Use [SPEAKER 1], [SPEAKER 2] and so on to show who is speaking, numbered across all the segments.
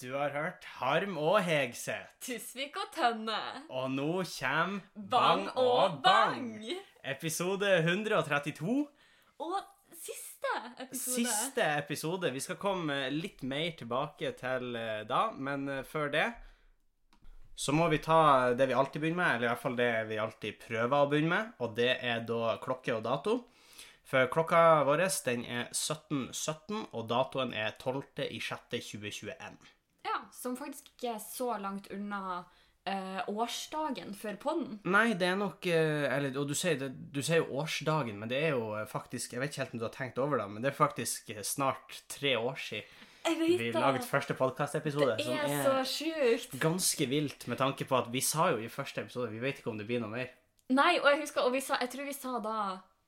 [SPEAKER 1] Du har hørt Harm og Hegseth.
[SPEAKER 2] Tusvik og Tønne.
[SPEAKER 1] Og nå kommer
[SPEAKER 2] Bang og bang!
[SPEAKER 1] Episode 132.
[SPEAKER 2] Og siste episode.
[SPEAKER 1] Siste episode. Vi skal komme litt mer tilbake til eh, da, men eh, før det så må vi ta det vi alltid begynner med, eller i hvert fall det vi alltid prøver å begynne med, og det er da klokke og dato. For klokka vår den er 17.17, og datoen er 12.06.2021.
[SPEAKER 2] Ja, som faktisk ikke er så langt unna eh, årsdagen for podden.
[SPEAKER 1] Nei, det er nok eh, eller, Og du sier, det, du sier jo årsdagen, men det er jo eh, faktisk Jeg vet ikke helt om du har tenkt over det, men det er faktisk eh, snart tre år siden
[SPEAKER 2] Jeg
[SPEAKER 1] vi
[SPEAKER 2] vet
[SPEAKER 1] laget
[SPEAKER 2] det!
[SPEAKER 1] første podkastepisode.
[SPEAKER 2] Det er så sjukt!
[SPEAKER 1] ganske vilt med tanke på at vi sa jo i første episode Vi vet ikke om det blir noe mer.
[SPEAKER 2] Nei, og jeg husker, og vi sa, jeg tror vi sa da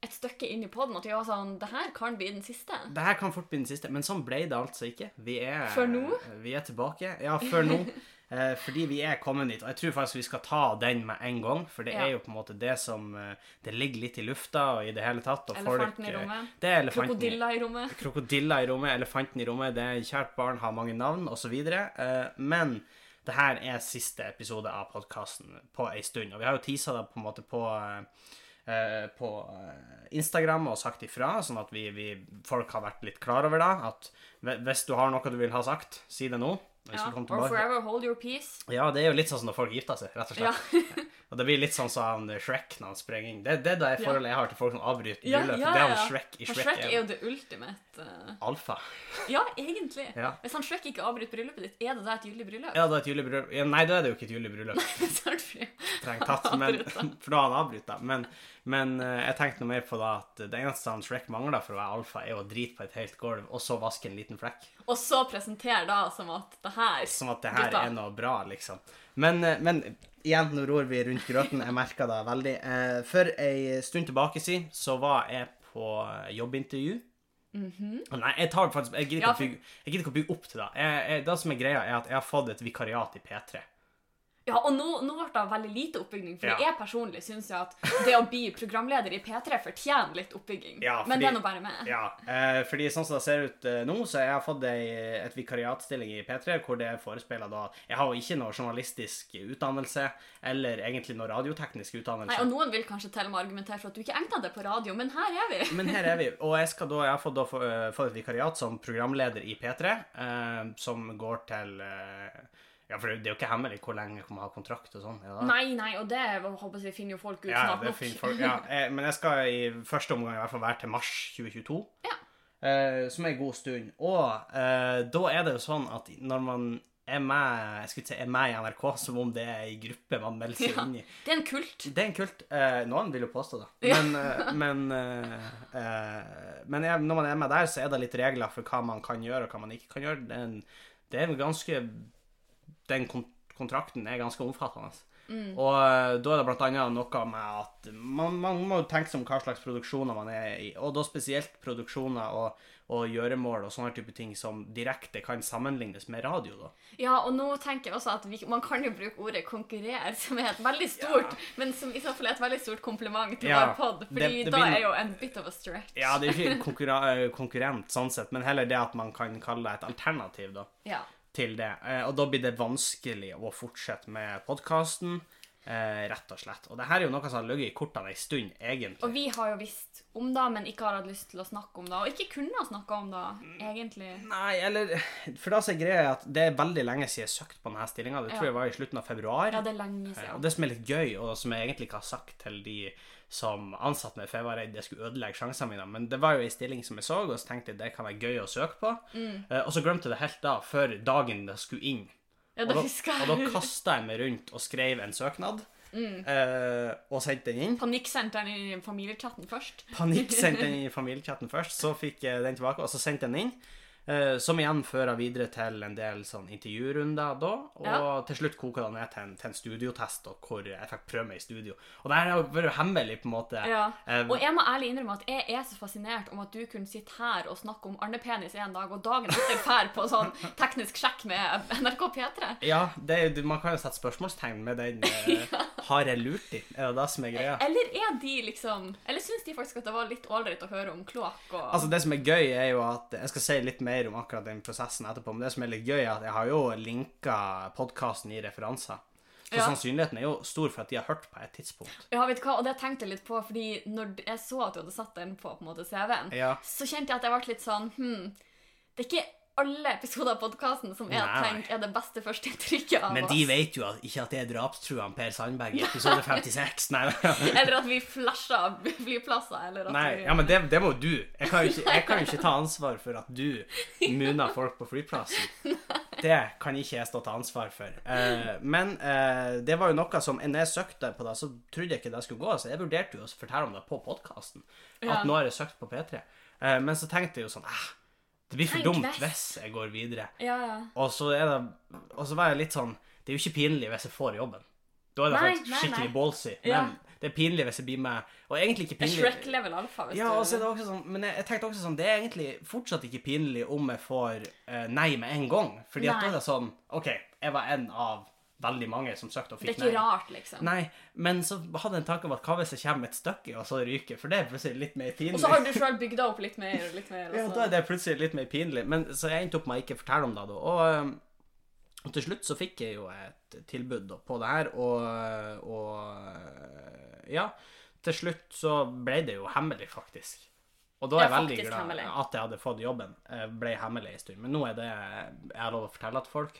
[SPEAKER 2] et stykke inn i podden at vi var sånn Det her kan bli den siste.
[SPEAKER 1] Det her kan fort bli den siste, men sånn ble det altså ikke. Vi er, eh,
[SPEAKER 2] Før nå?
[SPEAKER 1] Vi er tilbake. Ja, før nå. Eh, fordi vi er kommet dit. Og jeg tror faktisk vi skal ta den med en gang, for det
[SPEAKER 2] Ja.
[SPEAKER 1] er jo på en måte det som eh, Det ligger litt i lufta og i det hele tatt. Og
[SPEAKER 2] Elefanten
[SPEAKER 1] folk,
[SPEAKER 2] i
[SPEAKER 1] eh,
[SPEAKER 2] rommet.
[SPEAKER 1] Det er elefanten i
[SPEAKER 2] Krokodiller i rommet.
[SPEAKER 1] krokodiller i rommet, elefanten i rommet, det er kjært barn, har mange navn, osv. Eh, Men det her er siste episode av podkasten på ei stund. Og vi har jo teasa det på en måte på eh, på eh, Instagram og sagt ifra, sånn at vi, vi, folk har vært litt klar over det. At hve- hvis du har noe du vil ha sagt, si det nå. Hvis
[SPEAKER 2] Ja.
[SPEAKER 1] du kommer
[SPEAKER 2] Or
[SPEAKER 1] tilbake-
[SPEAKER 2] forever hold your peace.
[SPEAKER 1] ja, det er jo litt sånn som når folk gifter seg, rett og
[SPEAKER 2] Ja.
[SPEAKER 1] slett. Og det blir litt sånn som han, eh, Shrek når han sprenger inn. Det, det er det
[SPEAKER 2] Ja.
[SPEAKER 1] forholdet jeg har til folk som avbryter
[SPEAKER 2] Ja,
[SPEAKER 1] bryllupet.
[SPEAKER 2] ja,
[SPEAKER 1] Det er
[SPEAKER 2] ja.
[SPEAKER 1] han Shrek i
[SPEAKER 2] For
[SPEAKER 1] Shrek.
[SPEAKER 2] Shrek er jo
[SPEAKER 1] er
[SPEAKER 2] det ultimate. eh,
[SPEAKER 1] Alfa.
[SPEAKER 2] Ja, egentlig.
[SPEAKER 1] Ja.
[SPEAKER 2] Hvis han Shrek ikke avbryter bryllupet ditt, er det da et gyldig bryllup? Sånn
[SPEAKER 1] Ja, det er et julebryllup. Ja, nei, da er det jo ikke et julebryllup.
[SPEAKER 2] Snart fri.
[SPEAKER 1] Strengt tatt, men, for da har han avbrytet. det. Men, men eh, jeg tenkte noe mer på det at det eneste han Shrek mangler for å være alfa, er å drite på et helt gulv, og så vaske en liten flekk.
[SPEAKER 2] Og så presentere da som at det her
[SPEAKER 1] Som at det her
[SPEAKER 2] Gutta.
[SPEAKER 1] er noe bra, liksom. Men, eh, men igjen, nå ror vi rundt grøten. Jeg merker det veldig. Eh, For ei stund tilbake siden så var jeg på jobbintervju. Nei, jeg tar det faktisk Jeg gidder ikke
[SPEAKER 2] Ja,
[SPEAKER 1] å bygge- jeg gidder ikke å bygge opp til det. Jeg, jeg, det som er greia, er at jeg har fått et vikariat i P3.
[SPEAKER 2] Ja, og nå, nå ble det veldig lite oppbygging, for
[SPEAKER 1] Ja.
[SPEAKER 2] jeg personlig syns jo at det å bli programleder i P3 fortjener litt oppbygging.
[SPEAKER 1] Ja,
[SPEAKER 2] Men det er
[SPEAKER 1] fordi-
[SPEAKER 2] nå bare meg.
[SPEAKER 1] Ja, eh, fordi sånn som det ser ut eh, nå, så jeg har fått ei, et vikariatstilling i P3, hvor det forespeiler da Jeg har jo ikke noe journalistisk utdannelse, eller egentlig noe radioteknisk utdannelse.
[SPEAKER 2] Nei, og noen vil kanskje til og med argumentere for at du ikke egnet deg på radio, men her er vi.
[SPEAKER 1] Men her er vi, og jeg, skal da, jeg har fått, da, få- eh, fått et vikariat som programleder i P3, eh, som går til eh, Ja, for det er jo ikke hemmelig hvor lenge jeg kommer å ha kontrakt og sånn. er det det?
[SPEAKER 2] Nei, nei, og det håper jeg finner jo folk ut
[SPEAKER 1] Ja,
[SPEAKER 2] snart
[SPEAKER 1] det er
[SPEAKER 2] nok.
[SPEAKER 1] fint folk. Ja, eh, men jeg skal i første omgang i hvert fall være til mars 2022.
[SPEAKER 2] Ja.
[SPEAKER 1] Eh, som er en god stund. Og eh, da er det jo sånn at når man er med, jeg skulle ikke si, er med i NRK, som om det er ei gruppe man melder seg
[SPEAKER 2] Ja.
[SPEAKER 1] inn i.
[SPEAKER 2] Det er en kult.
[SPEAKER 1] Det er en kult. Eh, noen vil jo påstå det.
[SPEAKER 2] Ja.
[SPEAKER 1] Men, eh, men, eh, eh, men jeg, når man er med der, så er det litt regler for hva man kan gjøre, og hva man ikke kan gjøre. Det er, en, det er en ganske Den kon kontrakten er ganske omfattende. Og eh, da er det blant annet noe med at man, man må jo tenke seg om hva slags produksjoner man er i, og da spesielt produksjoner og, og gjøremål og sånne type ting som direkte kan sammenlignes med radio, da.
[SPEAKER 2] Ja, og nå tenker jeg også at vi, man kan jo bruke ordet konkurrere, som er et veldig stort, men som i så fall er et veldig stort kompliment til
[SPEAKER 1] Ja,
[SPEAKER 2] vår pod, fordi
[SPEAKER 1] det- det
[SPEAKER 2] da
[SPEAKER 1] begynner-
[SPEAKER 2] er jo en bit of a stretch.
[SPEAKER 1] Ja, det er jo ikke konkurra- konkurrent sånn sett, men heller det at man kan kalle det et alternativ, da.
[SPEAKER 2] Ja.
[SPEAKER 1] til det. Eh, Og da blir det vanskelig å fortsette med podkasten, eh, rett og slett. Og det her er jo noe som har ligget i kortene ei stund, egentlig.
[SPEAKER 2] Og vi har jo visst om det, men ikke har hatt lyst til å snakke om det, og ikke kunne ha snakket om det, egentlig.
[SPEAKER 1] Nei, eller For da som er greia, er at det er veldig lenge siden jeg søkte på denne stillinga. Det tror
[SPEAKER 2] Ja.
[SPEAKER 1] jeg var i slutten av februar.
[SPEAKER 2] Ja, det er lenge
[SPEAKER 1] Eh, Og
[SPEAKER 2] siden.
[SPEAKER 1] det som er litt gøy, og som jeg egentlig ikke har sagt til de som ansatte meg, for jeg var redd det skulle ødelegge sjansene mine, men det var jo ei stilling som jeg så, og så tenkte jeg det kan være gøy å søke på.
[SPEAKER 2] Mm.
[SPEAKER 1] Eh, Og så glemte jeg det helt da, før dagen det skulle inn.
[SPEAKER 2] Ja,
[SPEAKER 1] Og
[SPEAKER 2] det
[SPEAKER 1] da,
[SPEAKER 2] husker
[SPEAKER 1] og da
[SPEAKER 2] jeg.
[SPEAKER 1] kasta jeg meg rundt og skrev en søknad.
[SPEAKER 2] Mm.
[SPEAKER 1] eh, og sendte den inn.
[SPEAKER 2] Panikksenteren i familiechatten først.
[SPEAKER 1] Panikk sendte den i familiechatten først, så fikk jeg den tilbake, og så sendte jeg den inn. eh, som igjen fører videre til en del sånn intervjurunder da, og
[SPEAKER 2] Ja.
[SPEAKER 1] til slutt koker det ned til en, til en studiotest, da, hvor jeg fikk prøve meg i studio. Og det her har jo vært hemmelig, på en måte.
[SPEAKER 2] Ja.
[SPEAKER 1] Eh,
[SPEAKER 2] Og jeg må ærlig innrømme at jeg er så fascinert om at du kunne sitte her og snakke om arnepenis en dag, og dagen etter fær på sånn teknisk sjekk med NRK P3.
[SPEAKER 1] Ja, det, er jo- du, man kan jo sette spørsmålstegn med den. eh, Har jeg lurt dem? Er det det som er greia?
[SPEAKER 2] Eller er de liksom Eller syns de faktisk at det var litt ålreit å høre om kloakk og
[SPEAKER 1] Altså Det som er gøy, er jo at Jeg skal si litt mer om akkurat den prosessen etterpå, men det som er litt gøy, er at jeg har jo linka podkasten i referanser. Så
[SPEAKER 2] Ja.
[SPEAKER 1] sannsynligheten er jo stor for at de har hørt på et tidspunkt.
[SPEAKER 2] Ja, vet du hva, og det tenkte jeg litt på, fordi når jeg så at du hadde satt den på på en måte CV-en,
[SPEAKER 1] Ja.
[SPEAKER 2] så kjente jeg at jeg ble litt sånn Hm, det er ikke alle episoder av podkasten som jeg har
[SPEAKER 1] Nei.
[SPEAKER 2] tenkt er det beste førsteinntrykket av
[SPEAKER 1] Men
[SPEAKER 2] oss.
[SPEAKER 1] de vet jo at, ikke at det er drapstruene Per Sandberg i episode 56. Nei,
[SPEAKER 2] Eller at vi flasher flyplasser, eller at
[SPEAKER 1] nei.
[SPEAKER 2] vi
[SPEAKER 1] Ja, men det, det må jo du. Jeg kan jo ikke, jeg kan jo ikke ta ansvar for at du muner folk på flyplassen. Det kan ikke jeg stå til ansvar for. Eh, men eh, det var jo noe som Når jeg søkte på det, så trodde jeg ikke det skulle gå. Så jeg vurderte jo å fortelle om det på podkasten.
[SPEAKER 2] Ja.
[SPEAKER 1] At nå har jeg søkt på P3. Eh, men så tenkte jeg jo sånn eh, Det blir for
[SPEAKER 2] Nei,
[SPEAKER 1] dumt
[SPEAKER 2] kvess.
[SPEAKER 1] hvis jeg går videre.
[SPEAKER 2] Ja, ja.
[SPEAKER 1] Og så, er det, og så var jeg litt sånn Det er jo ikke pinlig hvis jeg får jobben. Da er det
[SPEAKER 2] Nei,
[SPEAKER 1] faktisk
[SPEAKER 2] nei,
[SPEAKER 1] skikkelig
[SPEAKER 2] nei.
[SPEAKER 1] ballsy. Men
[SPEAKER 2] Ja.
[SPEAKER 1] det er pinlig hvis jeg blir med. Og egentlig ikke
[SPEAKER 2] Det er
[SPEAKER 1] pinlig
[SPEAKER 2] Shrek-level alfa, hvis
[SPEAKER 1] ja,
[SPEAKER 2] du
[SPEAKER 1] og så er det også sånn, Men jeg, jeg tenkte også sånn Det er egentlig fortsatt ikke pinlig om jeg får eh, nei med en gang. Fordi at da
[SPEAKER 2] Nei.
[SPEAKER 1] er det sånn OK, jeg var en av veldig mange som søkte og
[SPEAKER 2] Det er
[SPEAKER 1] fikk
[SPEAKER 2] ikke
[SPEAKER 1] nei.
[SPEAKER 2] rart, liksom.
[SPEAKER 1] Nei, men så hadde jeg en tanke om at hva hvis jeg kommer et stykke, og så ryker? For det er plutselig litt mer pinlig.
[SPEAKER 2] Og så har du sjøl bygd deg opp litt mer og litt mer. altså.
[SPEAKER 1] Ja,
[SPEAKER 2] og så-
[SPEAKER 1] da er det plutselig litt mer pinlig. Men så jeg endte opp med å ikke fortelle om det. da. Og, øhm, og til slutt så fikk jeg jo et tilbud da, på det her, og, og Ja. Til slutt så ble det jo hemmelig, faktisk. Og da er jeg
[SPEAKER 2] Ja,
[SPEAKER 1] veldig
[SPEAKER 2] faktisk
[SPEAKER 1] glad
[SPEAKER 2] hemmelig.
[SPEAKER 1] at jeg hadde fått jobben. Eh, Ble hemmelig en stund. Men nå er det jeg har lov å fortelle til folk.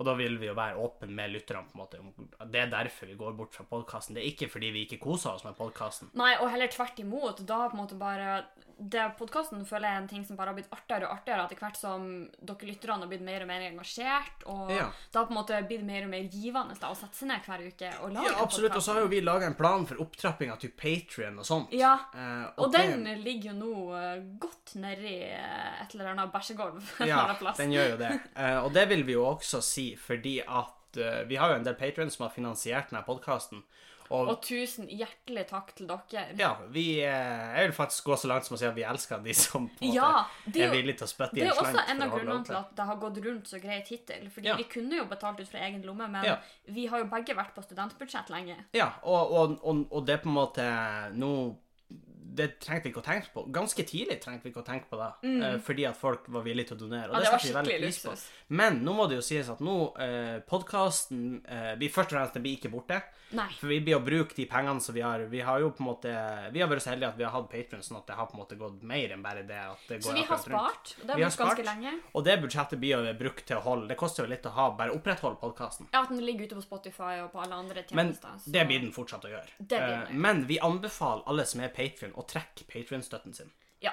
[SPEAKER 1] Og da vil vi jo være åpne med lytterne. på en måte. om- Det er derfor vi går bort fra podkasten. Det er ikke fordi vi ikke koser oss med podkasten.
[SPEAKER 2] Nei, og heller tvert imot. Da på en måte bare det Podkasten føler jeg er en ting som bare har blitt artigere og artigere etter hvert som dere lytterne har blitt mer og mer engasjert. Og
[SPEAKER 1] Ja.
[SPEAKER 2] det har på en måte blitt mer og mer givende da, å sette seg ned hver uke og lage
[SPEAKER 1] Ja, absolutt. Og så har jo vi laga en plan for opptrappinga til Patrion og sånt.
[SPEAKER 2] Ja.
[SPEAKER 1] Eh,
[SPEAKER 2] Og
[SPEAKER 1] det-
[SPEAKER 2] den ligger jo nå eh, godt nedi eh, et eller annet bæsjegulv. en eller
[SPEAKER 1] Ja,
[SPEAKER 2] annen plass.
[SPEAKER 1] den gjør jo det. Eh, og det vil vi jo også si fordi at eh, vi har jo en del patrions som har finansiert denne podkasten. Og,
[SPEAKER 2] Og tusen hjertelig takk til dere.
[SPEAKER 1] ja, vi eh, Jeg vil faktisk gå så langt som å si at vi elsker de som på en
[SPEAKER 2] Ja,
[SPEAKER 1] måte
[SPEAKER 2] det er
[SPEAKER 1] er
[SPEAKER 2] jo-
[SPEAKER 1] villige til å spytte i
[SPEAKER 2] Det
[SPEAKER 1] en
[SPEAKER 2] er også
[SPEAKER 1] slant.
[SPEAKER 2] en av
[SPEAKER 1] for å holde
[SPEAKER 2] grunnene til
[SPEAKER 1] oppe.
[SPEAKER 2] at det har gått rundt så greit hittil. Fordi
[SPEAKER 1] Ja.
[SPEAKER 2] vi kunne jo betalt ut fra egen lomme, men
[SPEAKER 1] Ja.
[SPEAKER 2] vi har jo begge vært på studentbudsjett lenge.
[SPEAKER 1] Ja, og, og, og, og det er på en måte Nå det trengte vi ikke å tenke på. Ganske tidlig trengte vi ikke å tenke på det, eh, fordi at folk var villige til å donere. Og
[SPEAKER 2] Mm. Ja,
[SPEAKER 1] det,
[SPEAKER 2] det var
[SPEAKER 1] setter vi veldig
[SPEAKER 2] skikkelig
[SPEAKER 1] pris på.
[SPEAKER 2] luksus.
[SPEAKER 1] Men nå må det jo sies at nå eh, Podkasten eh, blir først og fremst den blir ikke borte.
[SPEAKER 2] Nei.
[SPEAKER 1] For vi blir å bruke de pengene som vi har. Vi har jo på en måte Vi har vært så heldige at vi har hatt Patreon sånn at det har på en måte gått mer enn bare det at det går
[SPEAKER 2] Så vi har
[SPEAKER 1] akkurat rundt.
[SPEAKER 2] spart, og det har
[SPEAKER 1] Vi
[SPEAKER 2] vi
[SPEAKER 1] har
[SPEAKER 2] gjort ganske
[SPEAKER 1] spart.
[SPEAKER 2] lenge.
[SPEAKER 1] Og det budsjettet blir jo brukt til å holde Det koster jo litt å ha bare opprettholde podkasten.
[SPEAKER 2] Ja, at den ligger ute på Spotify og på alle andre
[SPEAKER 1] Men
[SPEAKER 2] tjenester. så-
[SPEAKER 1] det blir den fortsatt å gjøre.
[SPEAKER 2] Det blir den å
[SPEAKER 1] Eh,
[SPEAKER 2] gjøre.
[SPEAKER 1] Men vi anbefaler alle som er Patrion, å trekke Patrion-støtten sin.
[SPEAKER 2] Ja.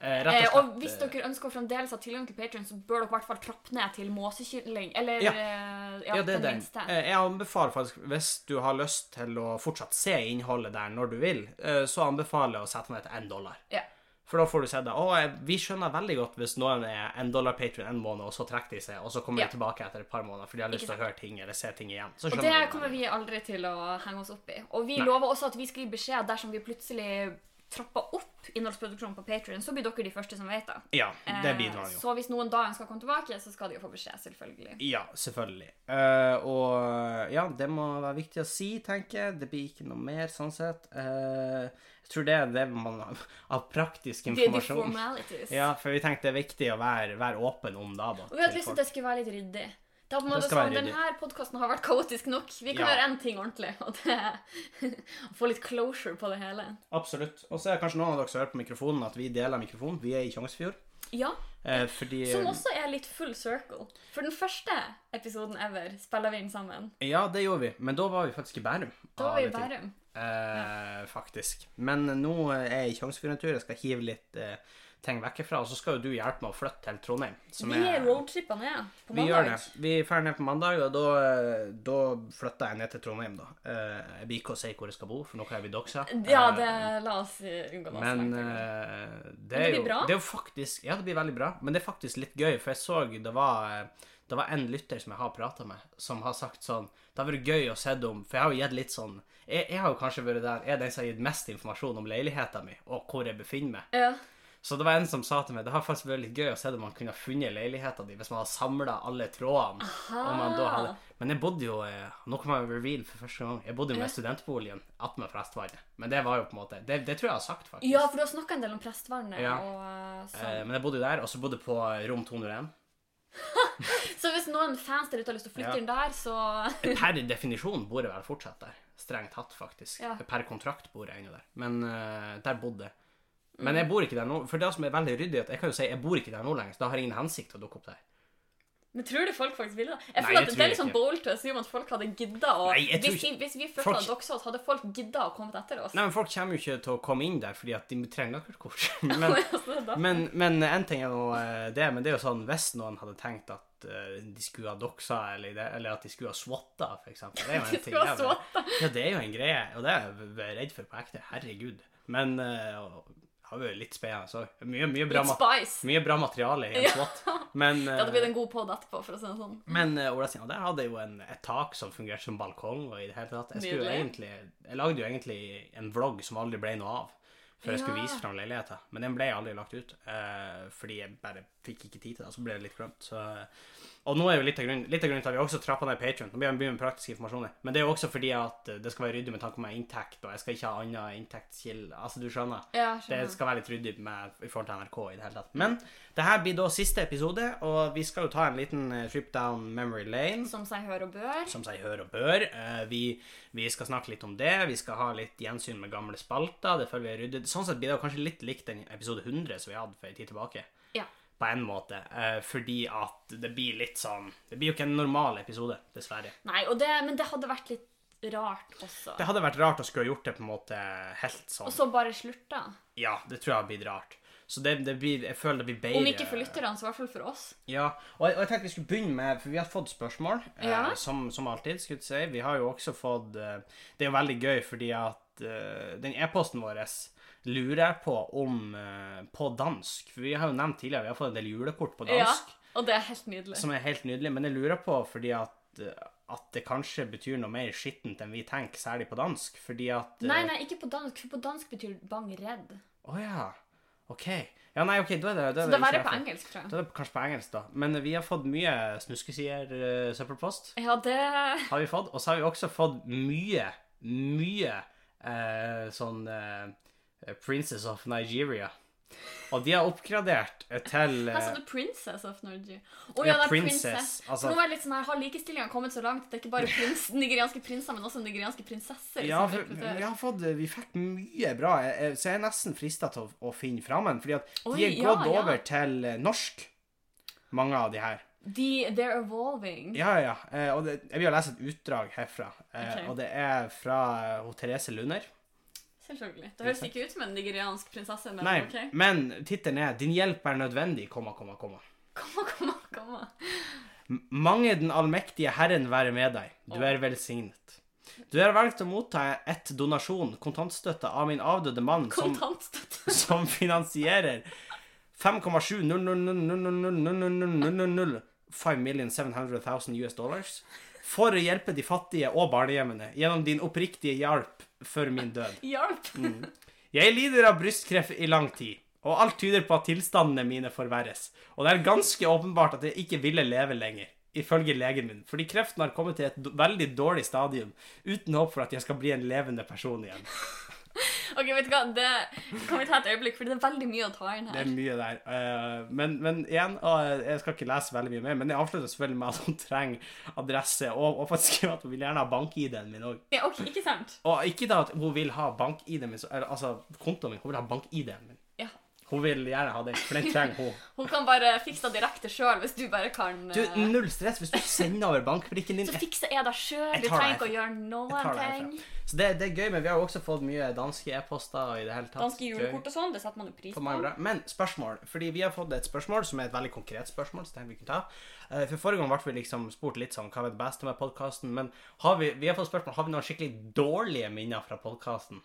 [SPEAKER 1] Eh, Rett
[SPEAKER 2] Eh,
[SPEAKER 1] og
[SPEAKER 2] og
[SPEAKER 1] slett.
[SPEAKER 2] hvis dere ønsker å fremdeles ha tilgang til Patreon, så bør dere i hvert fall trappe ned til måsekylling. Eller
[SPEAKER 1] Ja.
[SPEAKER 2] eh, ja,
[SPEAKER 1] ja, det er
[SPEAKER 2] den
[SPEAKER 1] den.
[SPEAKER 2] minste.
[SPEAKER 1] Eh, Jeg anbefaler faktisk, hvis du har lyst til å fortsatt se innholdet der når du vil, eh, så anbefaler jeg å sette ned til én dollar.
[SPEAKER 2] Ja.
[SPEAKER 1] For da får du se det. Og eh, vi skjønner veldig godt hvis noen er en dollar Patreon en måned, og så trekker de seg, og så kommer
[SPEAKER 2] Ja.
[SPEAKER 1] de tilbake etter et par måneder, for de har lyst
[SPEAKER 2] Ikke
[SPEAKER 1] til å høre ting eller se ting igjen. Så
[SPEAKER 2] Og
[SPEAKER 1] skjønner
[SPEAKER 2] det
[SPEAKER 1] vi
[SPEAKER 2] kommer vi aldri til å henge oss opp i. Og vi
[SPEAKER 1] Nei.
[SPEAKER 2] lover også at vi skal gi beskjed dersom vi plutselig trapper opp innholdsproduksjonen på Patreon, så blir dere de første som vet det.
[SPEAKER 1] Ja, det
[SPEAKER 2] Eh,
[SPEAKER 1] bidrar jo.
[SPEAKER 2] Så hvis noen da ønsker å komme tilbake, så skal de jo få beskjed, selvfølgelig.
[SPEAKER 1] Ja, selvfølgelig. Eh, og ja, det må være viktig å si, tenker jeg. Det blir ikke noe mer, sånn sett. Eh, jeg tror det er det man har av praktisk
[SPEAKER 2] The, the
[SPEAKER 1] informasjon.
[SPEAKER 2] formalities.
[SPEAKER 1] Ja, for vi tenkte det er viktig å være, være åpen om det. Da,
[SPEAKER 2] Og vi hadde lyst til at det skulle være litt ryddig. Det er på en måte
[SPEAKER 1] Det skal
[SPEAKER 2] sånn,
[SPEAKER 1] være ryddig.
[SPEAKER 2] Denne podkasten har vært kaotisk nok. Vi kan
[SPEAKER 1] Ja.
[SPEAKER 2] gjøre én ting ordentlig. Og det er å få litt closure på det hele.
[SPEAKER 1] Absolutt. Og så er det kanskje noen av dere som hører på mikrofonen, at vi deler mikrofon. Vi er i Tjongsfjord.
[SPEAKER 2] Ja,
[SPEAKER 1] Eh, fordi
[SPEAKER 2] Som Sånn også er litt full circle. For den første episoden ever spiller vi inn sammen.
[SPEAKER 1] Ja, det gjorde vi. Men da var vi faktisk i Bærum.
[SPEAKER 2] Da
[SPEAKER 1] av
[SPEAKER 2] var vi i
[SPEAKER 1] alle ting.
[SPEAKER 2] Bærum.
[SPEAKER 1] Eh, faktisk. Men nå er jeg i Tjongsfjord en tur. Jeg skal hive litt eh, ting vekkefra. Og så skal jo du hjelpe meg å flytte til Trondheim. som
[SPEAKER 2] Vi
[SPEAKER 1] er-
[SPEAKER 2] roadtrippa ned på
[SPEAKER 1] Vi gjør det.
[SPEAKER 2] mandag.
[SPEAKER 1] Vi drar ned på mandag, og da, eh, da flytter jeg ned til Trondheim, da. Eh, jeg blir ikke å si hvor jeg skal bo, for nå har jeg blitt doxa.
[SPEAKER 2] Ja,
[SPEAKER 1] Eh,
[SPEAKER 2] det la oss eh, unngå det.
[SPEAKER 1] Men
[SPEAKER 2] så langt.
[SPEAKER 1] eh, det,
[SPEAKER 2] Men det
[SPEAKER 1] er
[SPEAKER 2] blir
[SPEAKER 1] jo,
[SPEAKER 2] bra.
[SPEAKER 1] det er jo faktisk Ja, det blir veldig bra, men det er faktisk litt gøy, for jeg så det var eh, det var en lytter som jeg har prata med, som har sagt sånn Det har vært gøy å se om For jeg har jo gitt litt sånn eh, Jeg, jeg har jo kanskje vært der Jeg er den som har gitt mest informasjon om leiligheta mi, og hvor jeg befinner meg.
[SPEAKER 2] Ja.
[SPEAKER 1] Så det var en som sa til meg det har faktisk vært litt gøy å se om man kunne ha funnet leiligheta di hvis man hadde samla alle trådene. Om man da
[SPEAKER 2] Ah.
[SPEAKER 1] hadde... Men jeg bodde jo eh, Nå kan man reveal for første gang. Jeg bodde jo med studentboligen attmed Prestvannet. Men det var jo på en måte Det, det tror jeg jeg har sagt, faktisk.
[SPEAKER 2] Ja, for du har snakka en del om Prestvannet.
[SPEAKER 1] Ja.
[SPEAKER 2] Og, eh,
[SPEAKER 1] Eh,
[SPEAKER 2] sånn.
[SPEAKER 1] Men jeg bodde jo der, og så bodde jeg på rom 201.
[SPEAKER 2] Så hvis noen fans der ute har lyst til å flytte
[SPEAKER 1] Ja.
[SPEAKER 2] inn der, så
[SPEAKER 1] Per definisjon bor jeg vel fortsatt der. Strengt tatt, faktisk.
[SPEAKER 2] Ja.
[SPEAKER 1] Per kontrakt bor jeg ennå der. Men eh, der bodde jeg. Men
[SPEAKER 2] Mm.
[SPEAKER 1] jeg bor ikke der nå. For det som er veldig ryddig, er at jeg kan jo si jeg bor ikke der nå lenger, så da har jeg ingen hensikt til å dukke opp der.
[SPEAKER 2] Men tror du folk faktisk ville det? Jeg
[SPEAKER 1] Nei,
[SPEAKER 2] føler
[SPEAKER 1] det
[SPEAKER 2] at
[SPEAKER 1] tror
[SPEAKER 2] Det er
[SPEAKER 1] jeg
[SPEAKER 2] litt sånn
[SPEAKER 1] ikke.
[SPEAKER 2] bold to assume at folk hadde gidda å
[SPEAKER 1] Nei, jeg tror
[SPEAKER 2] hvis, vi, hvis vi først
[SPEAKER 1] Folk-
[SPEAKER 2] hadde doxa oss, hadde folk gidda å komme etter oss?
[SPEAKER 1] Nei, men folk kommer jo ikke til å komme inn der fordi at de trenger akkordkort. Men,
[SPEAKER 2] Altså, da-
[SPEAKER 1] men, men en ting er nå eh, det, men det er jo sånn hvis noen hadde tenkt at eh, de skulle ha doxa, eller, det, eller at de skulle ha swatta, for eksempel. Det er jo
[SPEAKER 2] De
[SPEAKER 1] en ting.
[SPEAKER 2] skulle
[SPEAKER 1] det
[SPEAKER 2] ha
[SPEAKER 1] er jo- Ja, det er jo en greie, og det er jeg v- redd for på ekte. Herregud. Men eh, og- har jo litt spennende så Mye, mye, bra,
[SPEAKER 2] Litt
[SPEAKER 1] ma-
[SPEAKER 2] spice.
[SPEAKER 1] mye bra materiale i en
[SPEAKER 2] Ja.
[SPEAKER 1] swat. Men,
[SPEAKER 2] Det hadde blitt
[SPEAKER 1] eh,
[SPEAKER 2] en god pod etterpå, for å si det sånn.
[SPEAKER 1] men eh, Ola Stina, der hadde jeg jo en, et tak som fungerte som balkong, og i det hele tatt. Jeg, skulle jo
[SPEAKER 2] Nydelig.
[SPEAKER 1] egentlig, jeg lagde jo egentlig en vlogg som aldri ble noe av. Før jeg skulle
[SPEAKER 2] Ja.
[SPEAKER 1] vise fram leiligheten. Men den ble aldri lagt ut. eh, fordi jeg bare fikk ikke tid til det. Så ble det litt glemt. Så, og nå er jo litt av grunnen, litt av grunnen til at vi også trappa ned Patreon. Nå begynner vi med praktisk informasjon. her. Men det er jo også fordi at eh, det skal være ryddig med tanke på meg inntekt, og jeg skal ikke ha annen inntektskilde. Altså, du skjønner.
[SPEAKER 2] Ja,
[SPEAKER 1] Det
[SPEAKER 2] skjønner.
[SPEAKER 1] skal være litt ryddig med, i forhold til NRK i det hele tatt. Men det her blir da siste episode, og vi skal jo ta en liten eh, trip down memory lane.
[SPEAKER 2] Som seg hør og bør.
[SPEAKER 1] Som seg hør og bør. Eh, Vi, vi skal snakke litt om det. Vi skal ha litt gjensyn med gamle spalter. Det føler vi er ryddig. Sånn sett blir det jo kanskje litt likt den episode 100 som vi hadde for en tid tilbake.
[SPEAKER 2] Ja.
[SPEAKER 1] På en måte. eh, Fordi at det blir litt sånn Det blir jo ikke en normal episode, dessverre.
[SPEAKER 2] Nei, og det, men det hadde vært litt rart også.
[SPEAKER 1] Det hadde vært rart å skulle ha gjort det på en måte helt sånn.
[SPEAKER 2] Og så bare slurta.
[SPEAKER 1] Ja, det tror jeg hadde blitt rart. Så det, det blir, jeg føler det blir bedre.
[SPEAKER 2] Om ikke for lytterne, så i hvert fall for oss.
[SPEAKER 1] Ja, og jeg, og jeg tenkte vi skulle begynne med, for vi har fått spørsmål,
[SPEAKER 2] Ja.
[SPEAKER 1] eh, som, som alltid, skulle jeg si. Vi har jo også fått, eh, det er jo veldig gøy, fordi at eh, den e-posten vår lurer jeg på om eh, på dansk, for vi har jo nevnt tidligere, vi har fått en del julekort på
[SPEAKER 2] Ja,
[SPEAKER 1] dansk,
[SPEAKER 2] og det er helt nydelig.
[SPEAKER 1] som er helt nydelig, men jeg lurer på fordi at, eh, at det kanskje betyr noe mer skittent enn vi tenker, særlig på dansk, fordi at... eh,
[SPEAKER 2] Nei, nei, ikke på dansk, for på dansk betyr bang redd.
[SPEAKER 1] Åja, ok. Ja, nei, ok, da er det... Da
[SPEAKER 2] Så
[SPEAKER 1] er
[SPEAKER 2] det er verre
[SPEAKER 1] ikke
[SPEAKER 2] på
[SPEAKER 1] derfor.
[SPEAKER 2] engelsk, tror jeg.
[SPEAKER 1] Da er det kanskje på engelsk da, men vi har fått mye snuskesier eh, søppelpost.
[SPEAKER 2] Ja, det
[SPEAKER 1] har vi fått. Og så har vi også fått mye, mye eh, sånn eh, Princess of Nigeria. Og de har oppgradert eh, til
[SPEAKER 2] Her sa
[SPEAKER 1] eh,
[SPEAKER 2] du 'Princess of Norge'. Å
[SPEAKER 1] Ja,
[SPEAKER 2] ja, det er
[SPEAKER 1] princess,
[SPEAKER 2] princess. For
[SPEAKER 1] altså-
[SPEAKER 2] nå er det litt sånn her, Har likestillinga kommet så langt at det er ikke bare prins, nigerianske prinser, men også nigerianske prinsesser?
[SPEAKER 1] eh, ja,
[SPEAKER 2] som
[SPEAKER 1] for,
[SPEAKER 2] rekrutterer?
[SPEAKER 1] vi, har fått, eh, vi fikk mye bra, eh, eh, så jeg er nesten frista til å, å finne fram en. Fordi at
[SPEAKER 2] Oi,
[SPEAKER 1] de er
[SPEAKER 2] ja,
[SPEAKER 1] gått
[SPEAKER 2] ja.
[SPEAKER 1] over til eh, norsk, mange av de her.
[SPEAKER 2] De, they're evolving.
[SPEAKER 1] Ja, ja. ja. Eh, og det, jeg vil jo lese et utdrag herfra. Eh,
[SPEAKER 2] Ok.
[SPEAKER 1] Og det er fra eh, hun Therese Lunder.
[SPEAKER 2] Selvfølgelig. Det høres ikke ut som en nigeriansk prinsesse, men
[SPEAKER 1] Nei,
[SPEAKER 2] OK.
[SPEAKER 1] men tittelen er 'Din hjelp er nødvendig', komma, komma, komma.
[SPEAKER 2] Kom, kom, kom.
[SPEAKER 1] Mange den allmektige Herren være med deg. Du er velsignet. Du har valgt å motta et donasjon, kontantstøtte, av min avdøde mann, som,
[SPEAKER 2] Kontantstøtte.
[SPEAKER 1] som finansierer 5,700000000 US dollars for å hjelpe de fattige og barnehjemmene gjennom din oppriktige hjelp for min død.
[SPEAKER 2] Hjelp!
[SPEAKER 1] Mm. Jeg lider av brystkreft i lang tid, og alt tyder på at tilstandene mine forverres. Og det er ganske åpenbart at jeg ikke ville leve lenger, ifølge legen min, fordi kreften har kommet til et d- veldig dårlig stadium, uten håp for at jeg skal bli en levende person igjen.
[SPEAKER 2] Ok, vet du hva? Det kan vi ta et øyeblikk, for det er veldig mye å ta inn
[SPEAKER 1] Det
[SPEAKER 2] her.
[SPEAKER 1] er mye der. eh, Men, men igjen, og jeg skal ikke lese veldig mye mer, men jeg avslutter selvfølgelig med at hun trenger adresse, og, og faktisk skriver at hun vil gjerne ha bank-ID-en min òg.
[SPEAKER 2] Ja, ok, ikke sant?
[SPEAKER 1] Og ikke da at hun vil ha bank-ID-en min, så- eller, altså kontoen min, hun vil ha bank-ID-en min.
[SPEAKER 2] Ja.
[SPEAKER 1] Hun vil gjerne ha den, for den trenger hun.
[SPEAKER 2] Hun kan bare fikse det direkte sjøl, hvis du bare kan
[SPEAKER 1] Du,
[SPEAKER 2] eh,
[SPEAKER 1] null stress hvis du sender over bankbrikken din.
[SPEAKER 2] Så fikser jeg det sjøl.
[SPEAKER 1] Jeg
[SPEAKER 2] Du
[SPEAKER 1] tar
[SPEAKER 2] trenger
[SPEAKER 1] det
[SPEAKER 2] ikke å gjøre noen
[SPEAKER 1] tar det herfra.
[SPEAKER 2] ting.
[SPEAKER 1] Så det, det er gøy, men vi har jo også fått mye danske e-poster og i det hele tatt.
[SPEAKER 2] Danske
[SPEAKER 1] Gøy.
[SPEAKER 2] julekort og sånn, det setter man jo pris
[SPEAKER 1] På
[SPEAKER 2] på.
[SPEAKER 1] mange bra. Men spørsmål. Fordi vi har fått et spørsmål som er et veldig konkret spørsmål. så tenkte vi kunne ta. Eh, For Forrige gang ble vi liksom spurt litt sånn hva er det beste med podkasten, men har vi, vi har fått spørsmål, har vi noen skikkelig dårlige minner fra podkasten?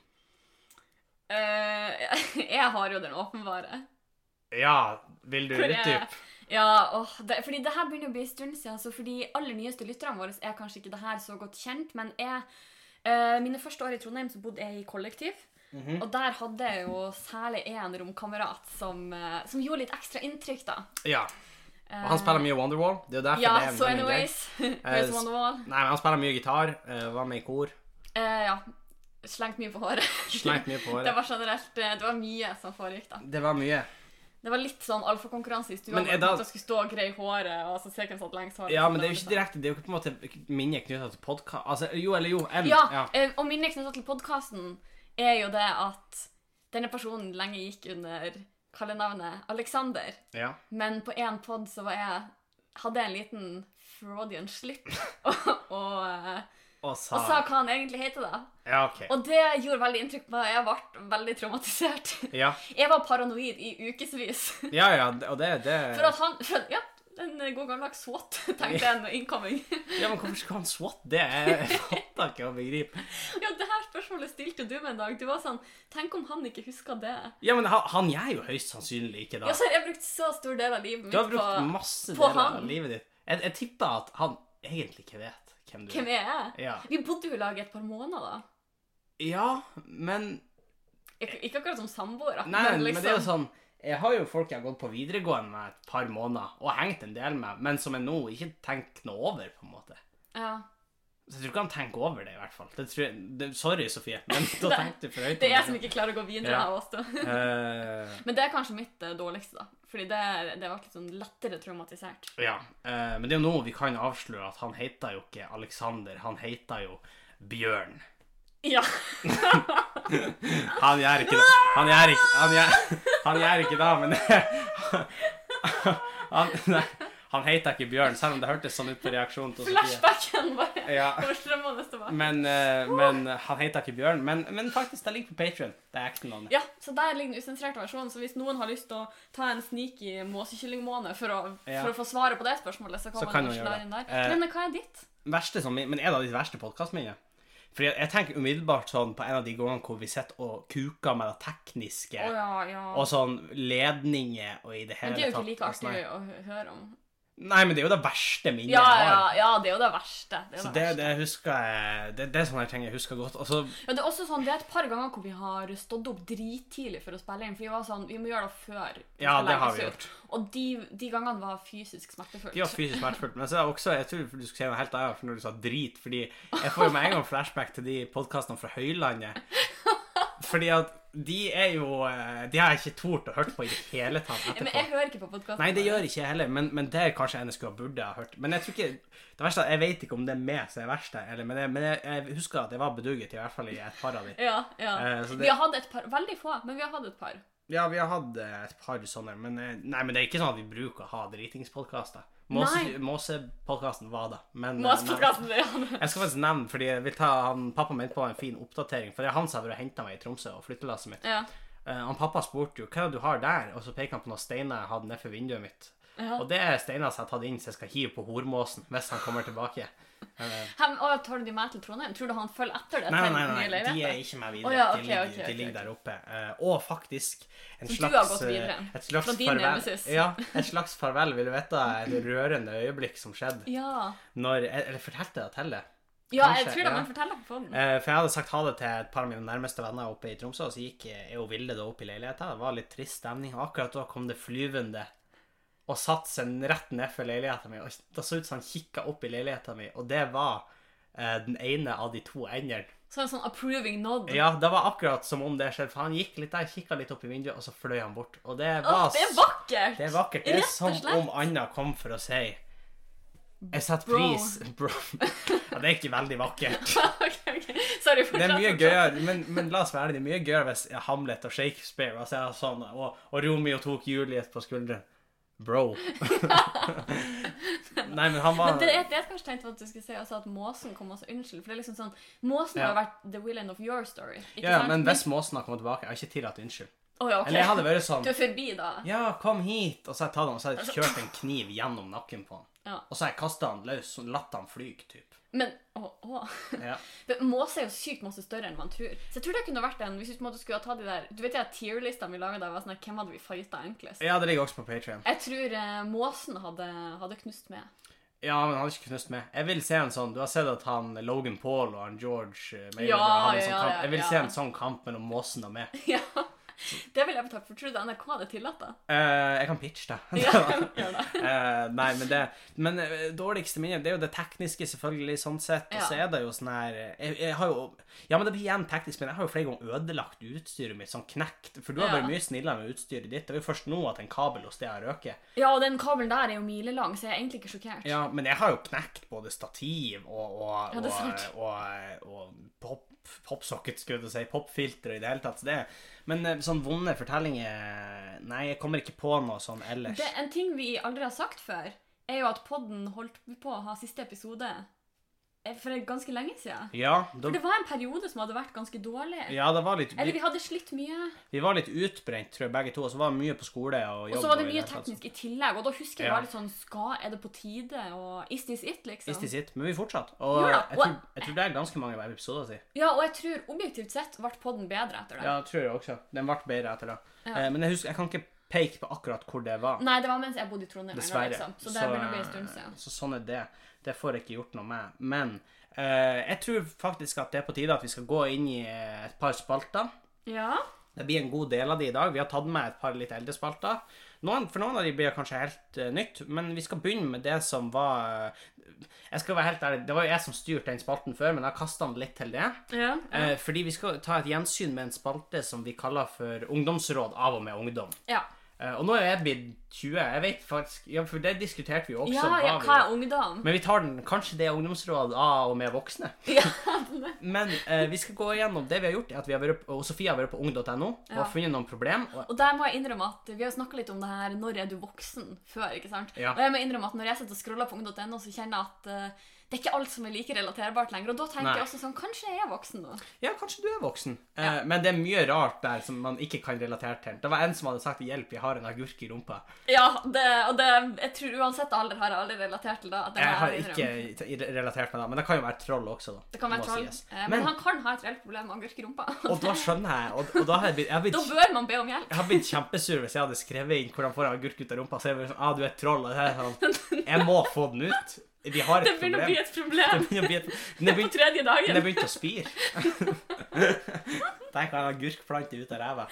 [SPEAKER 2] Eh, jeg har jo den åpenbare.
[SPEAKER 1] Ja, vil du
[SPEAKER 2] For jeg-
[SPEAKER 1] utdype?
[SPEAKER 2] Ja, åh, det, fordi det her begynner å bli en stund siden, så for de aller nyeste lytterne våre er kanskje ikke det her så godt kjent, men jeg, eh, mine første år i Trondheim så bodde jeg i kollektiv.
[SPEAKER 1] Mhm.
[SPEAKER 2] Og der hadde jeg jo særlig én romkamerat som, eh, som gjorde litt ekstra inntrykk, da.
[SPEAKER 1] Ja. Og han spiller mye Wonderwall. Det er jo derfor Ah, det
[SPEAKER 2] Ja,
[SPEAKER 1] er en
[SPEAKER 2] så
[SPEAKER 1] running gag.
[SPEAKER 2] anyways
[SPEAKER 1] Eh,
[SPEAKER 2] Where's
[SPEAKER 1] s-
[SPEAKER 2] Wonderwall?
[SPEAKER 1] Nei, men han spiller mye gitar, eh, var med i kor,
[SPEAKER 2] Eh, ja. Slengt mye på håret.
[SPEAKER 1] slengt mye på
[SPEAKER 2] Det
[SPEAKER 1] håret.
[SPEAKER 2] var generelt eh, Det var mye som foregikk, da.
[SPEAKER 1] Det var mye.
[SPEAKER 2] Det var litt sånn alfakonkurranse i stua.
[SPEAKER 1] Men
[SPEAKER 2] Men
[SPEAKER 1] er
[SPEAKER 2] da...
[SPEAKER 1] det-
[SPEAKER 2] skulle stå og greie håret, og så se hvem som hadde lengst hår. liksom.
[SPEAKER 1] Ja,
[SPEAKER 2] og så
[SPEAKER 1] men det er
[SPEAKER 2] ble
[SPEAKER 1] jo ikke direkte Det er jo ikke på en måte minner knytta til podkast Altså, jo eller jo. em-
[SPEAKER 2] Ja, eh, og minnet knytta til podkasten er jo det at denne personen lenge gikk under kallenavnet Alexander,
[SPEAKER 1] ja.
[SPEAKER 2] men på én pod så var jeg Hadde jeg en liten Freudian slip og, og, eh,
[SPEAKER 1] Og
[SPEAKER 2] og
[SPEAKER 1] sa
[SPEAKER 2] sa hva han egentlig heter, da.
[SPEAKER 1] Ja, OK.
[SPEAKER 2] Og det gjorde veldig inntrykk på meg. Jeg ble veldig traumatisert.
[SPEAKER 1] Ja,
[SPEAKER 2] Jeg var paranoid i ukevis.
[SPEAKER 1] ja, ja det- og det, det
[SPEAKER 2] For at han for, at- Ja, en god gammeldags SWAT, tenkte jeg når incoming.
[SPEAKER 1] Ja, men hvorfor skal han SWAT det? Jeg fatter ikke og begriper.
[SPEAKER 2] Ja, det her spørsmålet stilte du meg en dag. Du var sånn Tenk om han ikke husker det.
[SPEAKER 1] Ja, men han, han gjør jo høyst sannsynlig ikke
[SPEAKER 2] Ja,
[SPEAKER 1] det.
[SPEAKER 2] så har jeg brukt så stor del av livet
[SPEAKER 1] Du har
[SPEAKER 2] mitt på
[SPEAKER 1] brukt masse
[SPEAKER 2] på
[SPEAKER 1] deler av
[SPEAKER 2] han.
[SPEAKER 1] livet ditt. Jeg, jeg tipper at han egentlig ikke vet hvem du
[SPEAKER 2] hvem er jeg
[SPEAKER 1] Ja.
[SPEAKER 2] Vi bodde jo i lag i et par måneder, da.
[SPEAKER 1] ja, men
[SPEAKER 2] Ik ikke akkurat som samboere.
[SPEAKER 1] Eh. Nei, men, det
[SPEAKER 2] liksom-
[SPEAKER 1] er jo sånn Jeg har jo folk jeg har gått på videregående med et par måneder, og hengt en del med, men som jeg nå ikke tenker noe over, på en måte.
[SPEAKER 2] ja.
[SPEAKER 1] Så jeg tror ikke han tenker over det, i hvert fall. Det tror jeg, det, sorry, Sofie, men da
[SPEAKER 2] Nei,
[SPEAKER 1] tenkte du for høyt.
[SPEAKER 2] Det er jeg som ikke klarer å gå videre
[SPEAKER 1] Ja.
[SPEAKER 2] av oss, da.
[SPEAKER 1] Eh,
[SPEAKER 2] Men det er kanskje mitt eh, dårligste, da. Fordi det, det ble litt sånn lettere traumatisert.
[SPEAKER 1] ja. eh, men det er jo nå vi kan avsløre at han heter jo ikke Alexander, han heter jo Bjørn.
[SPEAKER 2] Ja.
[SPEAKER 1] Altså, Han gjør ikke det. Han gjør ikke, han gjør, han gjør ikke det, men han, nei, han heter ikke Bjørn, selv om det hørtes sånn ut på reaksjonen til Sofie.
[SPEAKER 2] Flashbacken bare
[SPEAKER 1] Ja.
[SPEAKER 2] overstrømmende tilbake.
[SPEAKER 1] Men, eh, men han heter ikke Bjørn. Men, men faktisk, det ligger på Patrion. Det er ekte navnet.
[SPEAKER 2] Ja, så der ligger den usensurerte versjonen. Så hvis noen har lyst til å ta en sneaky måsekyllingmåne for, å-
[SPEAKER 1] Ja.
[SPEAKER 2] for å få svaret på det spørsmålet, så kan
[SPEAKER 1] Så
[SPEAKER 2] man
[SPEAKER 1] kan man
[SPEAKER 2] kanskje
[SPEAKER 1] gjøre
[SPEAKER 2] la
[SPEAKER 1] det.
[SPEAKER 2] inn der.
[SPEAKER 1] Eh.
[SPEAKER 2] Lene, hva er ditt?
[SPEAKER 1] Verste som, men er det av ditt verste podkastminne? Fordi jeg, jeg tenker umiddelbart sånn på en av de gangene hvor vi sitter og kuker med det tekniske.
[SPEAKER 2] Å ja, ja.
[SPEAKER 1] Og sånn ledninger og i det hele
[SPEAKER 2] Men det er jo ikke like
[SPEAKER 1] Altså, nei.
[SPEAKER 2] artig å hø- høre om.
[SPEAKER 1] Nei, men det er jo det verste minnet
[SPEAKER 2] Ja,
[SPEAKER 1] jeg
[SPEAKER 2] ja,
[SPEAKER 1] har.
[SPEAKER 2] ja, det er jo det verste. Det er, jo
[SPEAKER 1] Så
[SPEAKER 2] det,
[SPEAKER 1] det,
[SPEAKER 2] verste.
[SPEAKER 1] det husker jeg Det, det er sånne ting jeg husker godt. Og så
[SPEAKER 2] Ja, det er også sånn, det er et par ganger hvor vi har stått opp drittidlig for å spille inn. For vi var sånn, vi må gjøre det før. vi
[SPEAKER 1] Ja,
[SPEAKER 2] skal
[SPEAKER 1] det har
[SPEAKER 2] legges
[SPEAKER 1] vi
[SPEAKER 2] ut. Og de, de gangene var fysisk smertefullt.
[SPEAKER 1] De var fysisk smertefullt. Men så er det også, jeg tror du skulle si noe helt annet for når du sa drit, fordi jeg får jo med en gang flashback til de podkastene fra Høylandet. Fordi at de er jo eh, De har jeg ikke tort å høre på i det hele tatt
[SPEAKER 2] Men jeg
[SPEAKER 1] etterpå.
[SPEAKER 2] hører ikke på podkasten.
[SPEAKER 1] Nei, det gjør ikke jeg heller, men, men det er kanskje en jeg skulle ha burde ha hørt. Men jeg tror ikke Det verste er at jeg vet ikke om det er meg som er verst der, eller Men, jeg, men jeg, jeg husker at jeg var beduget, i hvert fall i et par av de.
[SPEAKER 2] Ja, ja.
[SPEAKER 1] Eh, så det-
[SPEAKER 2] Vi har hatt et par, veldig få, men vi har hatt et par.
[SPEAKER 1] Ja, vi har hatt eh, et par sånne, men eh, Nei, men det er ikke sånn at vi bruker å ha dritingspodkaster.
[SPEAKER 2] Nei.
[SPEAKER 1] Måse- Måsepodkasten var det, men eh, men-
[SPEAKER 2] Måspodkasten, det er han.
[SPEAKER 1] Jeg skal faktisk nevne, fordi jeg vil ta han, pappa min på en fin oppdatering. For det er han som har vært og hentet meg i Tromsø og flyttelasset mitt.
[SPEAKER 2] Ja.
[SPEAKER 1] Eh, han pappa spurte jo hva er det du har der, og så peker han på noen steiner jeg hadde nedfor vinduet mitt.
[SPEAKER 2] Ja.
[SPEAKER 1] Og det er steiner som jeg har tatt inn, så jeg skal hive på hormåsen hvis han kommer tilbake.
[SPEAKER 2] Hem, å, tar du de med til Trondheim? Tror du han følger etter det?
[SPEAKER 1] Nei,
[SPEAKER 2] til
[SPEAKER 1] nei, nei,
[SPEAKER 2] nye
[SPEAKER 1] nei, de er
[SPEAKER 2] leiligheter?
[SPEAKER 1] ikke med videre.
[SPEAKER 2] Å, ja, ok,
[SPEAKER 1] de ligger,
[SPEAKER 2] ok, ok,
[SPEAKER 1] de ligger
[SPEAKER 2] ok.
[SPEAKER 1] der oppe. Eh, og faktisk en
[SPEAKER 2] Så du har
[SPEAKER 1] slags
[SPEAKER 2] gått videre?
[SPEAKER 1] eh, Et slags
[SPEAKER 2] Fra din
[SPEAKER 1] farvel,
[SPEAKER 2] nemesis?
[SPEAKER 1] ja, et slags farvel, vil du vite. Et rørende øyeblikk som skjedde
[SPEAKER 2] Ja.
[SPEAKER 1] når Eller fortalte jeg det til deg?
[SPEAKER 2] ja, jeg
[SPEAKER 1] Kanskje,
[SPEAKER 2] tror det,
[SPEAKER 1] ja.
[SPEAKER 2] men fortell det på podden.
[SPEAKER 1] Eh, For jeg hadde sagt ha det til et par av mine nærmeste venner oppe i Tromsø, og så gikk eh, jeg og Vilde da opp i leiligheta. Det var litt trist stemning. og Akkurat da kom det flyvende og satte seg rett nedfor leiligheta mi. Og det så ut som han kikka opp i leiligheta mi, og det var eh, den ene av de to endene.
[SPEAKER 2] Så en sånn approving nod.
[SPEAKER 1] Ja, det var akkurat som om det skjedde, for han gikk litt der, kikka litt opp i vinduet, og så fløy han bort. Og det var
[SPEAKER 2] Åh, det er vakkert!
[SPEAKER 1] det er vakkert. Det er
[SPEAKER 2] Rett og
[SPEAKER 1] som
[SPEAKER 2] slett.
[SPEAKER 1] om Anna kom for å si Jeg setter
[SPEAKER 2] Bro.
[SPEAKER 1] pris Bro. Ja, det er ikke veldig vakkert.
[SPEAKER 2] ok, ok. Sorry, fortsatt.
[SPEAKER 1] Det er mye
[SPEAKER 2] fortsatt.
[SPEAKER 1] gøyere, men, men la oss være ærlige, det er mye gøyere hvis Hamlet og Shakespeare altså, ja, sånn, og, og Romeo tok Juliet på skulderen. Bro. Nei, men han var
[SPEAKER 2] Men det, det jeg kanskje tenkte på at du skulle si også at måsen kom også unnskyld. For det er liksom sånn Måsen har jo
[SPEAKER 1] Ja.
[SPEAKER 2] vært the villain of your story. Ikke
[SPEAKER 1] ja, ja,
[SPEAKER 2] sant?
[SPEAKER 1] men hvis måsen har kommet tilbake, jeg har ikke tillatt unnskyld.
[SPEAKER 2] Å ja, ok.
[SPEAKER 1] Eller jeg hadde vært sånn
[SPEAKER 2] Du er forbi, da.
[SPEAKER 1] Ja, kom hit! Og så har jeg tatt han, og så har
[SPEAKER 2] Altså,
[SPEAKER 1] jeg kjørt en kniv gjennom nakken på han.
[SPEAKER 2] Ja.
[SPEAKER 1] Og så har jeg kasta han løs og latt han flyge, typ.
[SPEAKER 2] Men å, å.
[SPEAKER 1] Ja.
[SPEAKER 2] Men Måse er jo sykt masse større enn man tror. Så jeg tror det kunne vært en Hvis du på en måte skulle ha tatt de der Du vet de tier-listene vi laga der, var sånn her, hvem hadde vi fighta enklest?
[SPEAKER 1] ja, det ligger også på Patrion.
[SPEAKER 2] Jeg tror eh, måsen hadde, hadde knust med.
[SPEAKER 1] Ja, men han har ikke knust med. Jeg vil se en sånn Du har sett at han Logan Paul og han George eh, Mayweather
[SPEAKER 2] Ja,
[SPEAKER 1] har en sånn
[SPEAKER 2] ja,
[SPEAKER 1] kamp.
[SPEAKER 2] ja,
[SPEAKER 1] Jeg vil
[SPEAKER 2] ja.
[SPEAKER 1] se en sånn kamp mellom måsen og meg.
[SPEAKER 2] Ja. Det vil jeg betale for. Tror du det NRK hadde tillatt det?
[SPEAKER 1] Eh, jeg kan pitche det.
[SPEAKER 2] Ja, gjør det.
[SPEAKER 1] Eh, nei, men det Men eh, dårligste minnet, det er jo det tekniske, selvfølgelig, sånn sett. Og så
[SPEAKER 2] Ja.
[SPEAKER 1] er det jo sånn her eh, jeg, jeg har jo Ja, men det blir igjen teknisk, men jeg har jo flere ganger ødelagt utstyret mitt, sånn knekt. For du har vært
[SPEAKER 2] Ja.
[SPEAKER 1] mye snillere med utstyret ditt. Det var jo først nå at en kabel hos det har røket.
[SPEAKER 2] Ja, og den kabelen der er jo milelang, så jeg er egentlig ikke sjokkert.
[SPEAKER 1] Ja, men jeg har jo knekt både stativ og og,
[SPEAKER 2] Ja, det er sant.
[SPEAKER 1] og, og, og pop, popsocket, skulle jeg til å si. Popfilter og i det hele tatt. Så det Men eh, sånn vonde fortellinger Nei, jeg kommer ikke på noe sånn ellers.
[SPEAKER 2] Det, en ting vi aldri har sagt før, er jo at podden holdt på å ha siste episode eh, for ganske lenge siden.
[SPEAKER 1] Ja, da,
[SPEAKER 2] For det var en periode som hadde vært ganske dårlig.
[SPEAKER 1] ja, det var litt
[SPEAKER 2] Eller vi hadde slitt mye,
[SPEAKER 1] Vi var litt utbrent, tror jeg, begge to. Og så var det mye på skole og jobb.
[SPEAKER 2] og så var det
[SPEAKER 1] og i
[SPEAKER 2] mye
[SPEAKER 1] hele tatt.
[SPEAKER 2] teknisk liksom. i tillegg. Og da husker jeg
[SPEAKER 1] Ja.
[SPEAKER 2] det var litt sånn Skal, er det på tide? Og is this it, liksom?
[SPEAKER 1] Is this it? Men vi fortsatte. Og
[SPEAKER 2] Jo da,
[SPEAKER 1] jeg tror, jeg tror det er ganske mange episoder til.
[SPEAKER 2] Ja, og jeg tror objektivt sett ble podden bedre etter det.
[SPEAKER 1] Ja, tror jeg også. Den ble bedre etter det.
[SPEAKER 2] Ja.
[SPEAKER 1] Eh, Men jeg husker, jeg kan ikke peke på akkurat hvor det var.
[SPEAKER 2] Nei, det var mens jeg bodde i Trondheim. ennå,
[SPEAKER 1] Dessverre.
[SPEAKER 2] Liksom. Så det begynner å bli en stund
[SPEAKER 1] eh,
[SPEAKER 2] siden.
[SPEAKER 1] Så sånn er det. Det får jeg ikke gjort noe med. Men eh, jeg tror faktisk at det er på tide at vi skal gå inn i eh, et par spalter.
[SPEAKER 2] Ja.
[SPEAKER 1] Det blir en god del av de i dag. Vi har tatt med et par litt eldre spalter. Noen, for noen av de blir kanskje helt eh, nytt, men vi skal begynne med det som var eh, Jeg skal være helt ærlig, det var jo jeg som styrte den spalten før, men jeg har kasta den litt til det.
[SPEAKER 2] ja. ja.
[SPEAKER 1] Eh, fordi vi skal ta et gjensyn med en spalte som vi kaller for Ungdomsråd av og med ungdom.
[SPEAKER 2] ja.
[SPEAKER 1] Eh, og nå er jeg blitt 20. Jeg vet faktisk Ja, for det diskuterte vi jo også.
[SPEAKER 2] Ja, ja,
[SPEAKER 1] hva
[SPEAKER 2] hva
[SPEAKER 1] vi,
[SPEAKER 2] er ungdom?
[SPEAKER 1] men vi tar den kanskje det er ungdomsråd av og med voksne.
[SPEAKER 2] Ja,
[SPEAKER 1] Men eh, vi skal gå igjennom det vi har gjort. er At vi har vært, og Sofie har vært på ung.no og
[SPEAKER 2] Ja.
[SPEAKER 1] har funnet noen problem. Og
[SPEAKER 2] og der må jeg innrømme at Vi har jo snakka litt om det her 'når er du voksen?' før. ikke sant?
[SPEAKER 1] Ja.
[SPEAKER 2] Og jeg må innrømme at Når jeg sitter og scroller på ung.no, så kjenner jeg at eh, det er ikke alt som er like relaterbart lenger. Og da tenker
[SPEAKER 1] Nei.
[SPEAKER 2] jeg også sånn Kanskje jeg er voksen nå?
[SPEAKER 1] Ja, kanskje du er voksen. Eh, men det er mye rart der som man ikke kan relatere til. Det var en som hadde sagt 'hjelp, jeg har en agurk i rumpa'.
[SPEAKER 2] Ja, det, og det, jeg tror uansett alder har jeg aldri relatert til det. at det må
[SPEAKER 1] Jeg har
[SPEAKER 2] jeg
[SPEAKER 1] ikke
[SPEAKER 2] innrømme.
[SPEAKER 1] i- relatert meg da, men det kan jo være troll også, da.
[SPEAKER 2] Det kan være
[SPEAKER 1] må
[SPEAKER 2] troll.
[SPEAKER 1] sies.
[SPEAKER 2] eh, Men,
[SPEAKER 1] Men,
[SPEAKER 2] han kan ha et reelt problem med agurk i rumpa.
[SPEAKER 1] og da skjønner jeg, og, og da har jeg blitt, jeg har blitt,
[SPEAKER 2] Da bør man be om hjelp.
[SPEAKER 1] jeg har blitt kjempesur hvis jeg hadde skrevet inn hvordan får jeg agurk ut av rumpa, så er det sånn 'ah, du er et troll', og det er sånn Jeg må få den ut. Vi har et
[SPEAKER 2] Det begynner å bli
[SPEAKER 1] problem.
[SPEAKER 2] et problem
[SPEAKER 1] Det begynner å bli et Den er
[SPEAKER 2] på
[SPEAKER 1] begynt,
[SPEAKER 2] tredje
[SPEAKER 1] den er
[SPEAKER 2] dagen.
[SPEAKER 1] begynt å spire. Der kan en agurkplante ut av ræva.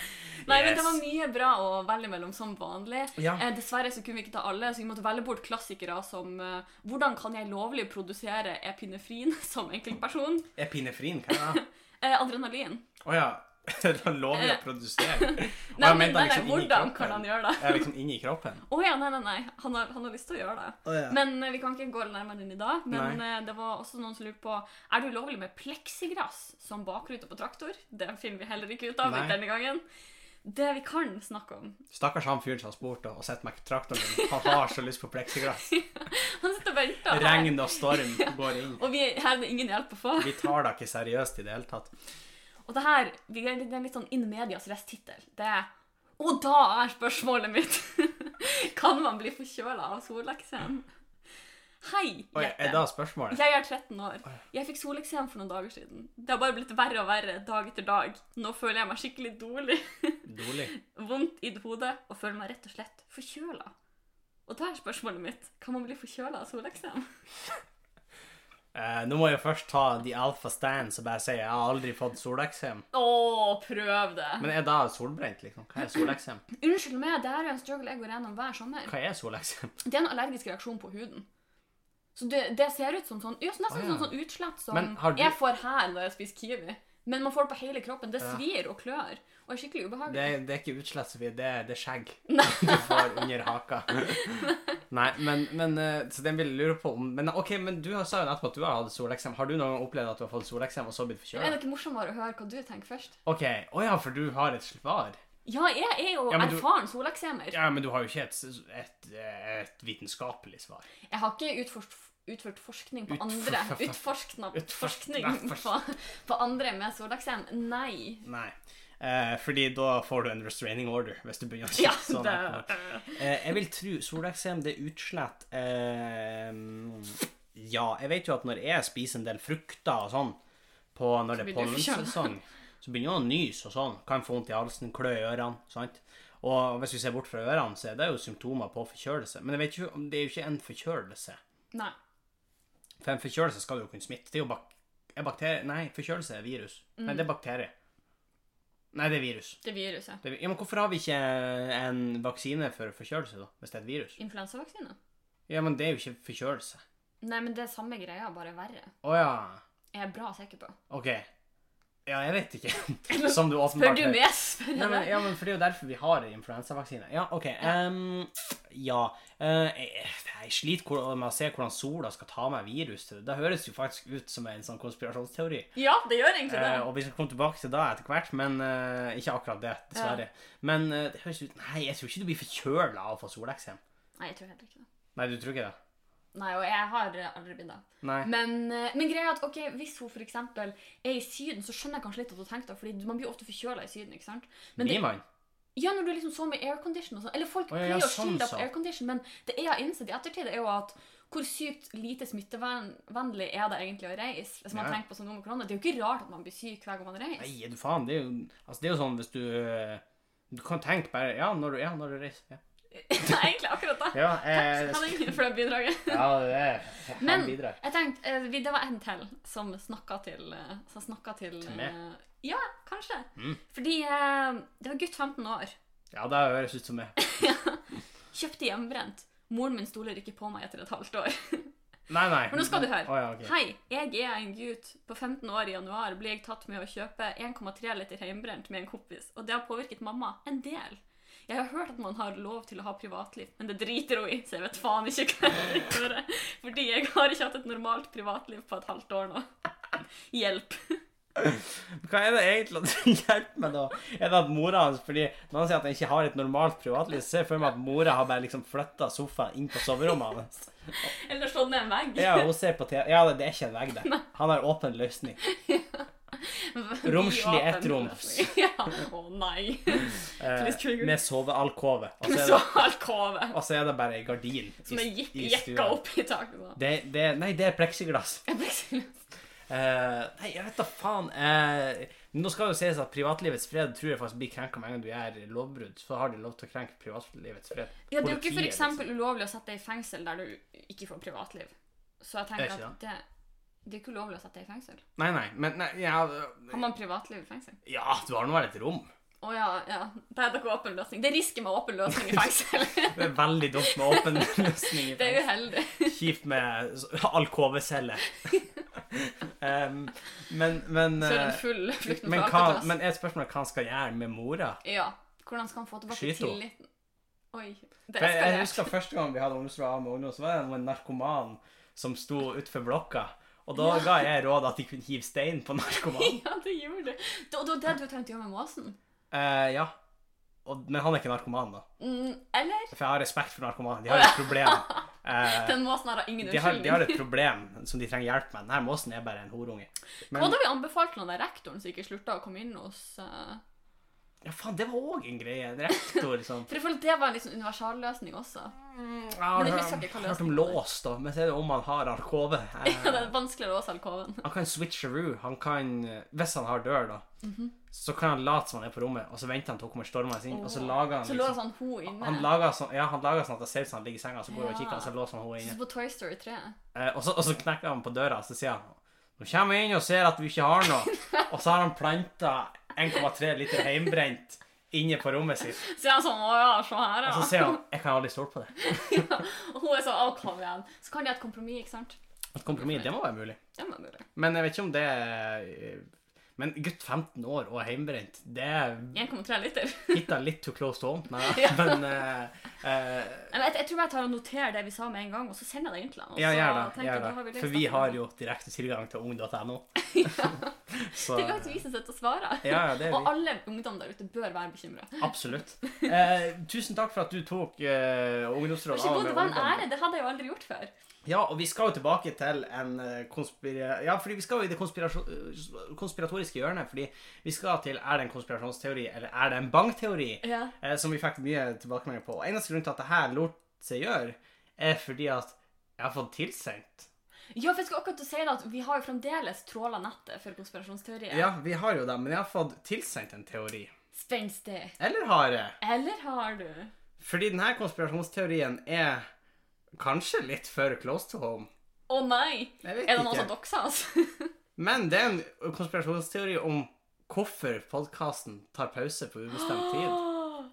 [SPEAKER 2] Nei, men Det
[SPEAKER 1] Yes.
[SPEAKER 2] var mye bra å velge mellom som vanlig.
[SPEAKER 1] Ja.
[SPEAKER 2] Eh, dessverre så kunne vi ikke ta alle, så vi måtte velge bort klassikere som eh, 'Hvordan kan jeg lovlig produsere epinefrin som enkeltperson?'
[SPEAKER 1] Epinefrin, hva er det?
[SPEAKER 2] Eh, adrenalin.
[SPEAKER 1] Å ja. Da lover vi å
[SPEAKER 2] Eh.
[SPEAKER 1] produsere. Og
[SPEAKER 2] Nei,
[SPEAKER 1] jeg
[SPEAKER 2] nei,
[SPEAKER 1] mente han
[SPEAKER 2] nei, nei,
[SPEAKER 1] liksom inni
[SPEAKER 2] hvordan
[SPEAKER 1] kroppen.
[SPEAKER 2] kan han gjøre det?
[SPEAKER 1] Jeg er liksom inni kroppen.
[SPEAKER 2] Å ja, nei, nei, nei. Han har, han har lyst til å gjøre det. Men eh, vi kan ikke gå nærmere inn i dag. Men eh, det var også noen som lurte på Er det ulovlig med pleksigrass som bakrute på traktor. Det finner vi heller ikke ut av
[SPEAKER 1] Nei.
[SPEAKER 2] denne gangen. Det vi kan snakke om
[SPEAKER 1] Stakkars han fyren som har spurt og sett meg på traktoren min. Han har så lyst på pleksiglass.
[SPEAKER 2] Han sitter og venter. her,
[SPEAKER 1] Regn og storm går inn.
[SPEAKER 2] Og vi her er det ingen hjelp å få.
[SPEAKER 1] Vi tar det ikke seriøst i det hele tatt.
[SPEAKER 2] Og det her vi er litt- det er litt sånn in medias rest tittel. Det er Og da er spørsmålet mitt Kan man bli forkjøla av soleksem? Hei,
[SPEAKER 1] Oi, er
[SPEAKER 2] Jette.
[SPEAKER 1] da spørsmålet?
[SPEAKER 2] Jeg er 13 år. Jeg fikk soleksem for noen dager siden. Det har bare blitt verre og verre dag etter dag. Nå føler jeg meg skikkelig dårlig.
[SPEAKER 1] Dårlig.
[SPEAKER 2] Vondt i hodet og føler meg rett og slett forkjøla. Og da er spørsmålet mitt Kan man bli forkjøla av soleksem?
[SPEAKER 1] Eh, nå må jeg jo først ta The Alpha Stand som bare sier jeg har aldri fått soleksem.
[SPEAKER 2] Å, prøv det!
[SPEAKER 1] Men er da solbrent, liksom? Hva er soleksem?
[SPEAKER 2] Unnskyld meg, det her er en struggle jeg går gjennom hver sommer.
[SPEAKER 1] Hva er soleksem?
[SPEAKER 2] Det er en allergisk reaksjon på huden. Så det, det ser ut som sånn, ja, så nesten
[SPEAKER 1] Å, ja.
[SPEAKER 2] sånn, sånn utslett som
[SPEAKER 1] Men har du-
[SPEAKER 2] jeg får her når jeg spiser kiwi. Men man får det på hele kroppen. Det
[SPEAKER 1] Ja.
[SPEAKER 2] svir og klør og er skikkelig
[SPEAKER 1] Det,
[SPEAKER 2] ubehagelig.
[SPEAKER 1] er- det er ikke utslett, Sofie. Det, er- det er skjegg du får under haka. Nei, men, men eh, Så den vil jeg lure på om Men ok, men du har- sa jo nettopp at du har hatt soleksem. Har du noen gang opplevd at du har fått soleksem og så blitt
[SPEAKER 2] Er
[SPEAKER 1] forkjøla?
[SPEAKER 2] det ikke morsommere å høre hva du tenker først?
[SPEAKER 1] Ok, Å ja, for du har et svar?
[SPEAKER 2] Ja, jeg er jo
[SPEAKER 1] Ja, men du-
[SPEAKER 2] erfaren soleksemer.
[SPEAKER 1] Ja, men du har jo ikke et, s- et, eh, et vitenskapelig svar.
[SPEAKER 2] Jeg har ikke utforsk, utført forskning på
[SPEAKER 1] Utfor-
[SPEAKER 2] andre. Utforskna,
[SPEAKER 1] Utforskna-
[SPEAKER 2] forskning på, på andre med soleksem. Nei.
[SPEAKER 1] Nei. Eh, fordi da får du en restraining order hvis du begynner å si
[SPEAKER 2] Ja,
[SPEAKER 1] sånn.
[SPEAKER 2] det
[SPEAKER 1] her. Eh, jeg vil tro soleksem, det er utslett eh, Ja, jeg vet jo at når jeg spiser en del frukter og sånn på, Når det er
[SPEAKER 2] blir du forkjølet.
[SPEAKER 1] pollensesong, så begynner jeg å nyse og sånn. Kan få vondt i halsen, klø i ørene. sant? Og hvis vi ser bort fra ørene, så er det jo symptomer på forkjølelse. Men jeg vet ikke, om- det er jo ikke en forkjølelse.
[SPEAKER 2] Nei.
[SPEAKER 1] For en forkjølelse skal du jo kunne smitte. Det er jo bak er bakterier Nei, forkjølelse er virus.
[SPEAKER 2] Mm.
[SPEAKER 1] Nei, det er bakterier. Nei, det er virus.
[SPEAKER 2] Det er viruset.
[SPEAKER 1] Det er, vi- ja, men hvorfor har vi ikke en vaksine for forkjølelse, da? Hvis det er et virus?
[SPEAKER 2] Influensavaksine?
[SPEAKER 1] Ja, men det er jo ikke forkjølelse.
[SPEAKER 2] Nei, men det er samme greia, bare verre.
[SPEAKER 1] Å ja.
[SPEAKER 2] Jeg er bra sikker på.
[SPEAKER 1] OK. Ja, jeg vet ikke. Som du åpenbart
[SPEAKER 2] Spør du meg,
[SPEAKER 1] Nei,
[SPEAKER 2] spør jeg
[SPEAKER 1] men,
[SPEAKER 2] deg.
[SPEAKER 1] ja, men for det er jo derfor vi har influensavaksine. Ja, OK. ehm, ja. eh, jeg, jeg sliter hvor- med å se hvordan sola skal ta med virus til det. Det høres jo faktisk ut som en sånn konspirasjonsteori.
[SPEAKER 2] Ja, det gjør egentlig
[SPEAKER 1] Eh,
[SPEAKER 2] det.
[SPEAKER 1] og vi skal komme tilbake til det etter hvert, men eh, ikke akkurat det, dessverre. Men eh, det høres ut Nei, jeg tror ikke du blir forkjøla av å få soleksem.
[SPEAKER 2] Nei, jeg tror heller ikke det.
[SPEAKER 1] Nei, du tror ikke det?
[SPEAKER 2] Nei, og jeg har eh, aldri blitt det.
[SPEAKER 1] Nei.
[SPEAKER 2] Men, eh, men greia er at ok, hvis hun for eksempel er i Syden, så skjønner jeg kanskje litt at hun tenker det, fordi man blir jo ofte forkjøla i Syden, ikke sant? Men det,
[SPEAKER 1] blir man?
[SPEAKER 2] ja, når du liksom så med aircondition og sånn, eller folk
[SPEAKER 1] Å, ja, ja,
[SPEAKER 2] pleier å
[SPEAKER 1] sånn,
[SPEAKER 2] skylde deg
[SPEAKER 1] så.
[SPEAKER 2] på aircondition, men det jeg har innsett i ettertid, er jo at hvor sykt lite smittevennlig er det egentlig å reise? Hvis man
[SPEAKER 1] Ja.
[SPEAKER 2] tenker på sånn noe med korona, det er jo ikke rart at man blir syk hver gang man reiser.
[SPEAKER 1] Nei, du faen. Det er jo, altså, det er jo sånn hvis du eh, Du kan tenke bare Ja, når du, ja, når du reiser. Ja.
[SPEAKER 2] Det er egentlig akkurat det.
[SPEAKER 1] Ja,
[SPEAKER 2] Takk
[SPEAKER 1] eh,
[SPEAKER 2] skal du ha for det bidraget.
[SPEAKER 1] ja, det er han
[SPEAKER 2] Men-
[SPEAKER 1] bidrar.
[SPEAKER 2] Jeg tenkte, eh, vi- Det var en til som snakka til eh, Som snakket til,
[SPEAKER 1] Til
[SPEAKER 2] eh,
[SPEAKER 1] meg?
[SPEAKER 2] Ja, kanskje.
[SPEAKER 1] Mm.
[SPEAKER 2] Fordi eh, det var gutt 15 år.
[SPEAKER 1] Ja, det høres ut som meg.
[SPEAKER 2] Kjøpte hjemmebrent. Moren min stoler ikke på meg etter et halvt år.
[SPEAKER 1] Nei, nei.
[SPEAKER 2] Men nå skal du høre.
[SPEAKER 1] Å, ja, ok.
[SPEAKER 2] Hei, jeg er en gutt. På 15 år i januar ble jeg tatt med å kjøpe 1,3 liter hjemmebrent med en kompis, og det har påvirket mamma en del. Jeg har hørt at man har lov til å ha privatliv, men det driter hun i, så jeg vet faen ikke hva jeg skal gjøre. Fordi jeg har ikke hatt et normalt privatliv på et halvt år nå. Hjelp.
[SPEAKER 1] Hva er det egentlig som hjelper meg, da? Er det at mora hans Fordi når han sier at han ikke har et normalt privatliv, så ser jeg for meg at mora har bare liksom flytta sofaen inn på soverommet hans.
[SPEAKER 2] Eller slå ned en vegg.
[SPEAKER 1] Ja, hun ser på TV. Ja, det er ikke en vegg der. Han har åpen løsning. Romslig
[SPEAKER 2] Åpen
[SPEAKER 1] ettrom.
[SPEAKER 2] løsning. Ja. Å nei.
[SPEAKER 1] Eh,
[SPEAKER 2] Please trigger.
[SPEAKER 1] med sovealkove. Og så er
[SPEAKER 2] Så
[SPEAKER 1] det-
[SPEAKER 2] alkove.
[SPEAKER 1] og så er det bare ei gardin
[SPEAKER 2] Som er jek-
[SPEAKER 1] i
[SPEAKER 2] jekka opp i taket. sånn.
[SPEAKER 1] Det, det, nei, det er pleksiglass.
[SPEAKER 2] Jeg ble ikke lyst.
[SPEAKER 1] Eh, nei, jeg vet da faen. Eh, nå skal jo sies at privatlivets fred tror jeg faktisk blir krenka med en gang du gjør lovbrudd. Så har de lov til å krenke privatlivets fred.
[SPEAKER 2] Ja, det er jo ikke
[SPEAKER 1] Politiet,
[SPEAKER 2] for
[SPEAKER 1] liksom.
[SPEAKER 2] eksempel ulovlig å sette deg i fengsel der du ikke får privatliv. Så jeg
[SPEAKER 1] Er
[SPEAKER 2] tenker
[SPEAKER 1] ikke
[SPEAKER 2] at det, det er ikke ulovlig å sette deg i fengsel.
[SPEAKER 1] Nei, nei, men nei, ja,
[SPEAKER 2] Har man privatliv i fengsel?
[SPEAKER 1] ja, du har nå vel et rom.
[SPEAKER 2] Å ja, ja. Det er dere åpen løsning. Det er risken med åpen løsning i fengsel.
[SPEAKER 1] Det er veldig dumt med åpen løsning. i
[SPEAKER 2] det er
[SPEAKER 1] fengsel.
[SPEAKER 2] uheldig.
[SPEAKER 1] Kjipt med s- alkovecelle. um, men men,
[SPEAKER 2] Så er det en
[SPEAKER 1] eh,
[SPEAKER 2] full flukt
[SPEAKER 1] men,
[SPEAKER 2] fra
[SPEAKER 1] hva,
[SPEAKER 2] Alcatraz.
[SPEAKER 1] men er spørsmålet hva han skal gjøre med mora?
[SPEAKER 2] Ja. Hvordan skal han få tilbake
[SPEAKER 1] Skyt henne.
[SPEAKER 2] tilliten? Oi. Det
[SPEAKER 1] For jeg, jeg
[SPEAKER 2] eskalerte.
[SPEAKER 1] husker første gang vi hadde ungdomsprogram med ungdom, så var det en narkoman som sto utenfor blokka. Og da ga jeg råd at de kunne hive stein på narkomanen.
[SPEAKER 2] Ja, det gjorde det. Det og det var det du tenkte å gjøre med måsen?
[SPEAKER 1] Eh, ja. Og, men han er ikke narkoman, da.
[SPEAKER 2] Mm, eller?
[SPEAKER 1] For jeg har respekt for narkomane. De har et problem. Eh,
[SPEAKER 2] Den måsen her har ingen
[SPEAKER 1] de, har, de
[SPEAKER 2] unnskyldning.
[SPEAKER 1] har et problem som de trenger hjelp med. Denne måsen er bare en horunge.
[SPEAKER 2] Hva
[SPEAKER 1] Men
[SPEAKER 2] hadde vi anbefalt til den der rektoren som ikke slutta å komme inn hos eh,
[SPEAKER 1] ja, faen, det var òg en greie. En rektor, liksom.
[SPEAKER 2] For jeg føler at det var en liksom universalløsning også.
[SPEAKER 1] Jeg har
[SPEAKER 2] Mm, Men jeg husker ikke hva
[SPEAKER 1] hørt om
[SPEAKER 2] løsningen var.
[SPEAKER 1] lås, da. Men så er det om han har arkove.
[SPEAKER 2] Ja, det er vanskeligere å låse alkoven.
[SPEAKER 1] han kan switcheroo. Han kan eh, Hvis han har dør, da,
[SPEAKER 2] Mhm.
[SPEAKER 1] så kan han late som han er på rommet, og så venter han til hun kommer stormende inn, og så lager han
[SPEAKER 2] Så lå det
[SPEAKER 1] liksom
[SPEAKER 2] sånn ho inne.
[SPEAKER 1] han lager, sånn, ja, han lager sånn at det ser ut som han ligger i senga, så går han og
[SPEAKER 2] Ja.
[SPEAKER 1] kikker, og så låser han henne
[SPEAKER 2] Sånn
[SPEAKER 1] inne.
[SPEAKER 2] som på Toy Story 3.
[SPEAKER 1] Eh, og, så, og så knekker han på døra, og så sier han Nå kommer jeg inn og ser at du ikke har noe. Og så har han planta 1,3 liter heimbrent inne på rommet sitt.
[SPEAKER 2] Så jeg er sånn, å ja, se her,
[SPEAKER 1] Og så
[SPEAKER 2] ja.
[SPEAKER 1] sier han Jeg kan aldri stole på det.
[SPEAKER 2] Og hun er sånn, å, kom igjen. Så kan de ha et kompromiss, ikke sant?
[SPEAKER 1] Et kompromiss, det må være mulig.
[SPEAKER 2] Det må jeg gjøre.
[SPEAKER 1] Men jeg vet ikke om det er- Men gutt 15 år og heimbrent, det er
[SPEAKER 2] 1,3 liter.
[SPEAKER 1] litt, litt too close to home. Nei,
[SPEAKER 2] Ja.
[SPEAKER 1] men eh, eh,
[SPEAKER 2] Nei, men Jeg, jeg tror bare jeg tar og noterer det vi sa med en gang, og så sender jeg det inn til ham.
[SPEAKER 1] Ja, gjør det. Gjør det. For vi har jo direkte tilgang til ung.no. Så
[SPEAKER 2] Tenk at vi som sitter og svarer.
[SPEAKER 1] Ja, ja, det er
[SPEAKER 2] Og
[SPEAKER 1] vi.
[SPEAKER 2] alle ungdom der ute bør være bekymra.
[SPEAKER 1] Absolutt. Eh, tusen takk for at du tok eh,
[SPEAKER 2] Vær
[SPEAKER 1] ungdomsråd
[SPEAKER 2] så
[SPEAKER 1] av
[SPEAKER 2] god,
[SPEAKER 1] med
[SPEAKER 2] det var en
[SPEAKER 1] ungdom.
[SPEAKER 2] ære. Det hadde jeg jo aldri gjort før.
[SPEAKER 1] Ja, og vi skal jo tilbake til en eh, konspira... Ja, fordi vi skal jo i det konspirasjon- konspiratoriske hjørnet. Fordi vi skal til er det en konspirasjonsteori, eller er det en bankteori?
[SPEAKER 2] Ja.
[SPEAKER 1] Eh, som vi fikk mye tilbakemeldinger på. Og eneste grunn til at det her lot seg gjøre, er fordi at jeg har fått tilsendt.
[SPEAKER 2] Ja, for jeg skal akkurat til å si det at Vi har jo fremdeles tråla nettet for konspirasjonsteorier.
[SPEAKER 1] Ja, vi har jo det, men jeg har fått tilsendt en teori.
[SPEAKER 2] Spenstig.
[SPEAKER 1] Eller har jeg?
[SPEAKER 2] Eller har du?
[SPEAKER 1] Fordi denne konspirasjonsteorien er Kanskje litt for close to home.
[SPEAKER 2] Å nei!
[SPEAKER 1] Jeg vet
[SPEAKER 2] Er det noen
[SPEAKER 1] ikke.
[SPEAKER 2] som dokser oss?
[SPEAKER 1] Men det er en konspirasjonsteori om hvorfor podkasten tar pause på
[SPEAKER 2] Ah,
[SPEAKER 1] ubestemt tid.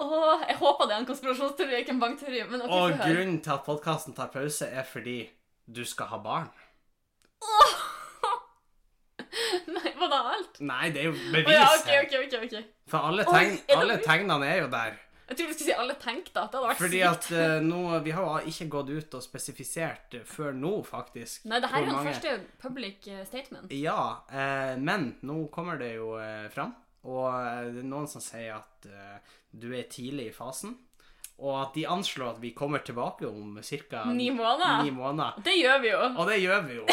[SPEAKER 2] Åh, jeg håper det er en konspirasjonsteori, ikke en bankteori. Men ok,
[SPEAKER 1] Og
[SPEAKER 2] få høre.
[SPEAKER 1] grunnen til at podkasten tar pause, er fordi du skal ha barn.
[SPEAKER 2] Nei, var det alt?
[SPEAKER 1] Nei, det er jo
[SPEAKER 2] Å ja,
[SPEAKER 1] bevis
[SPEAKER 2] ok,
[SPEAKER 1] her.
[SPEAKER 2] ok, ok, ok.
[SPEAKER 1] For alle,
[SPEAKER 2] Oi,
[SPEAKER 1] tegn,
[SPEAKER 2] er det
[SPEAKER 1] alle
[SPEAKER 2] bevis?
[SPEAKER 1] tegnene er jo der.
[SPEAKER 2] Jeg tror du skulle si alle tenk da, at det hadde vært
[SPEAKER 1] Fordi
[SPEAKER 2] sykt.
[SPEAKER 1] at eh, nå Vi har jo ikke gått ut og spesifisert eh, før nå, faktisk.
[SPEAKER 2] Nei, det her
[SPEAKER 1] hvor
[SPEAKER 2] er jo den
[SPEAKER 1] mange-
[SPEAKER 2] første public eh, statement.
[SPEAKER 1] Ja, eh, men nå kommer det jo eh, fram. Og eh, det er noen som sier at eh, du er tidlig i fasen. Og at de anslår at vi kommer tilbake om ca.
[SPEAKER 2] Ni måneder.
[SPEAKER 1] ni måneder.
[SPEAKER 2] Det gjør vi jo.
[SPEAKER 1] Og det gjør vi jo.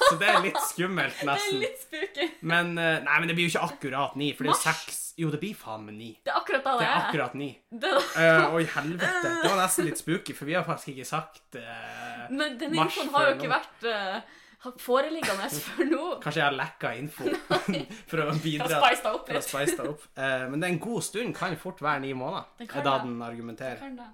[SPEAKER 1] Så det er litt skummelt,
[SPEAKER 2] Det er
[SPEAKER 1] nesten.
[SPEAKER 2] litt spooky.
[SPEAKER 1] Men eh, nei, men det blir jo ikke akkurat ni, for det er jo
[SPEAKER 2] Mars.
[SPEAKER 1] seks. Jo, det blir faen meg ni.
[SPEAKER 2] Det er akkurat da
[SPEAKER 1] Det
[SPEAKER 2] det
[SPEAKER 1] er
[SPEAKER 2] er.
[SPEAKER 1] akkurat ni.
[SPEAKER 2] Det,
[SPEAKER 1] Eh, Oi, helvete. Det var nesten litt spooky, for vi har faktisk ikke sagt eh,
[SPEAKER 2] men denne
[SPEAKER 1] Mars
[SPEAKER 2] infoen har jo
[SPEAKER 1] før
[SPEAKER 2] ikke
[SPEAKER 1] nå.
[SPEAKER 2] vært eh, ha- foreliggende før nå.
[SPEAKER 1] Kanskje jeg har lekka info for å
[SPEAKER 2] Jeg
[SPEAKER 1] bidra
[SPEAKER 2] har spiced deg opp
[SPEAKER 1] for å
[SPEAKER 2] litt.
[SPEAKER 1] spice det opp. Eh, men det er en god stund kan fort være ni måneder,
[SPEAKER 2] Den kan
[SPEAKER 1] er da
[SPEAKER 2] det.
[SPEAKER 1] den argumenterer.
[SPEAKER 2] Kan det.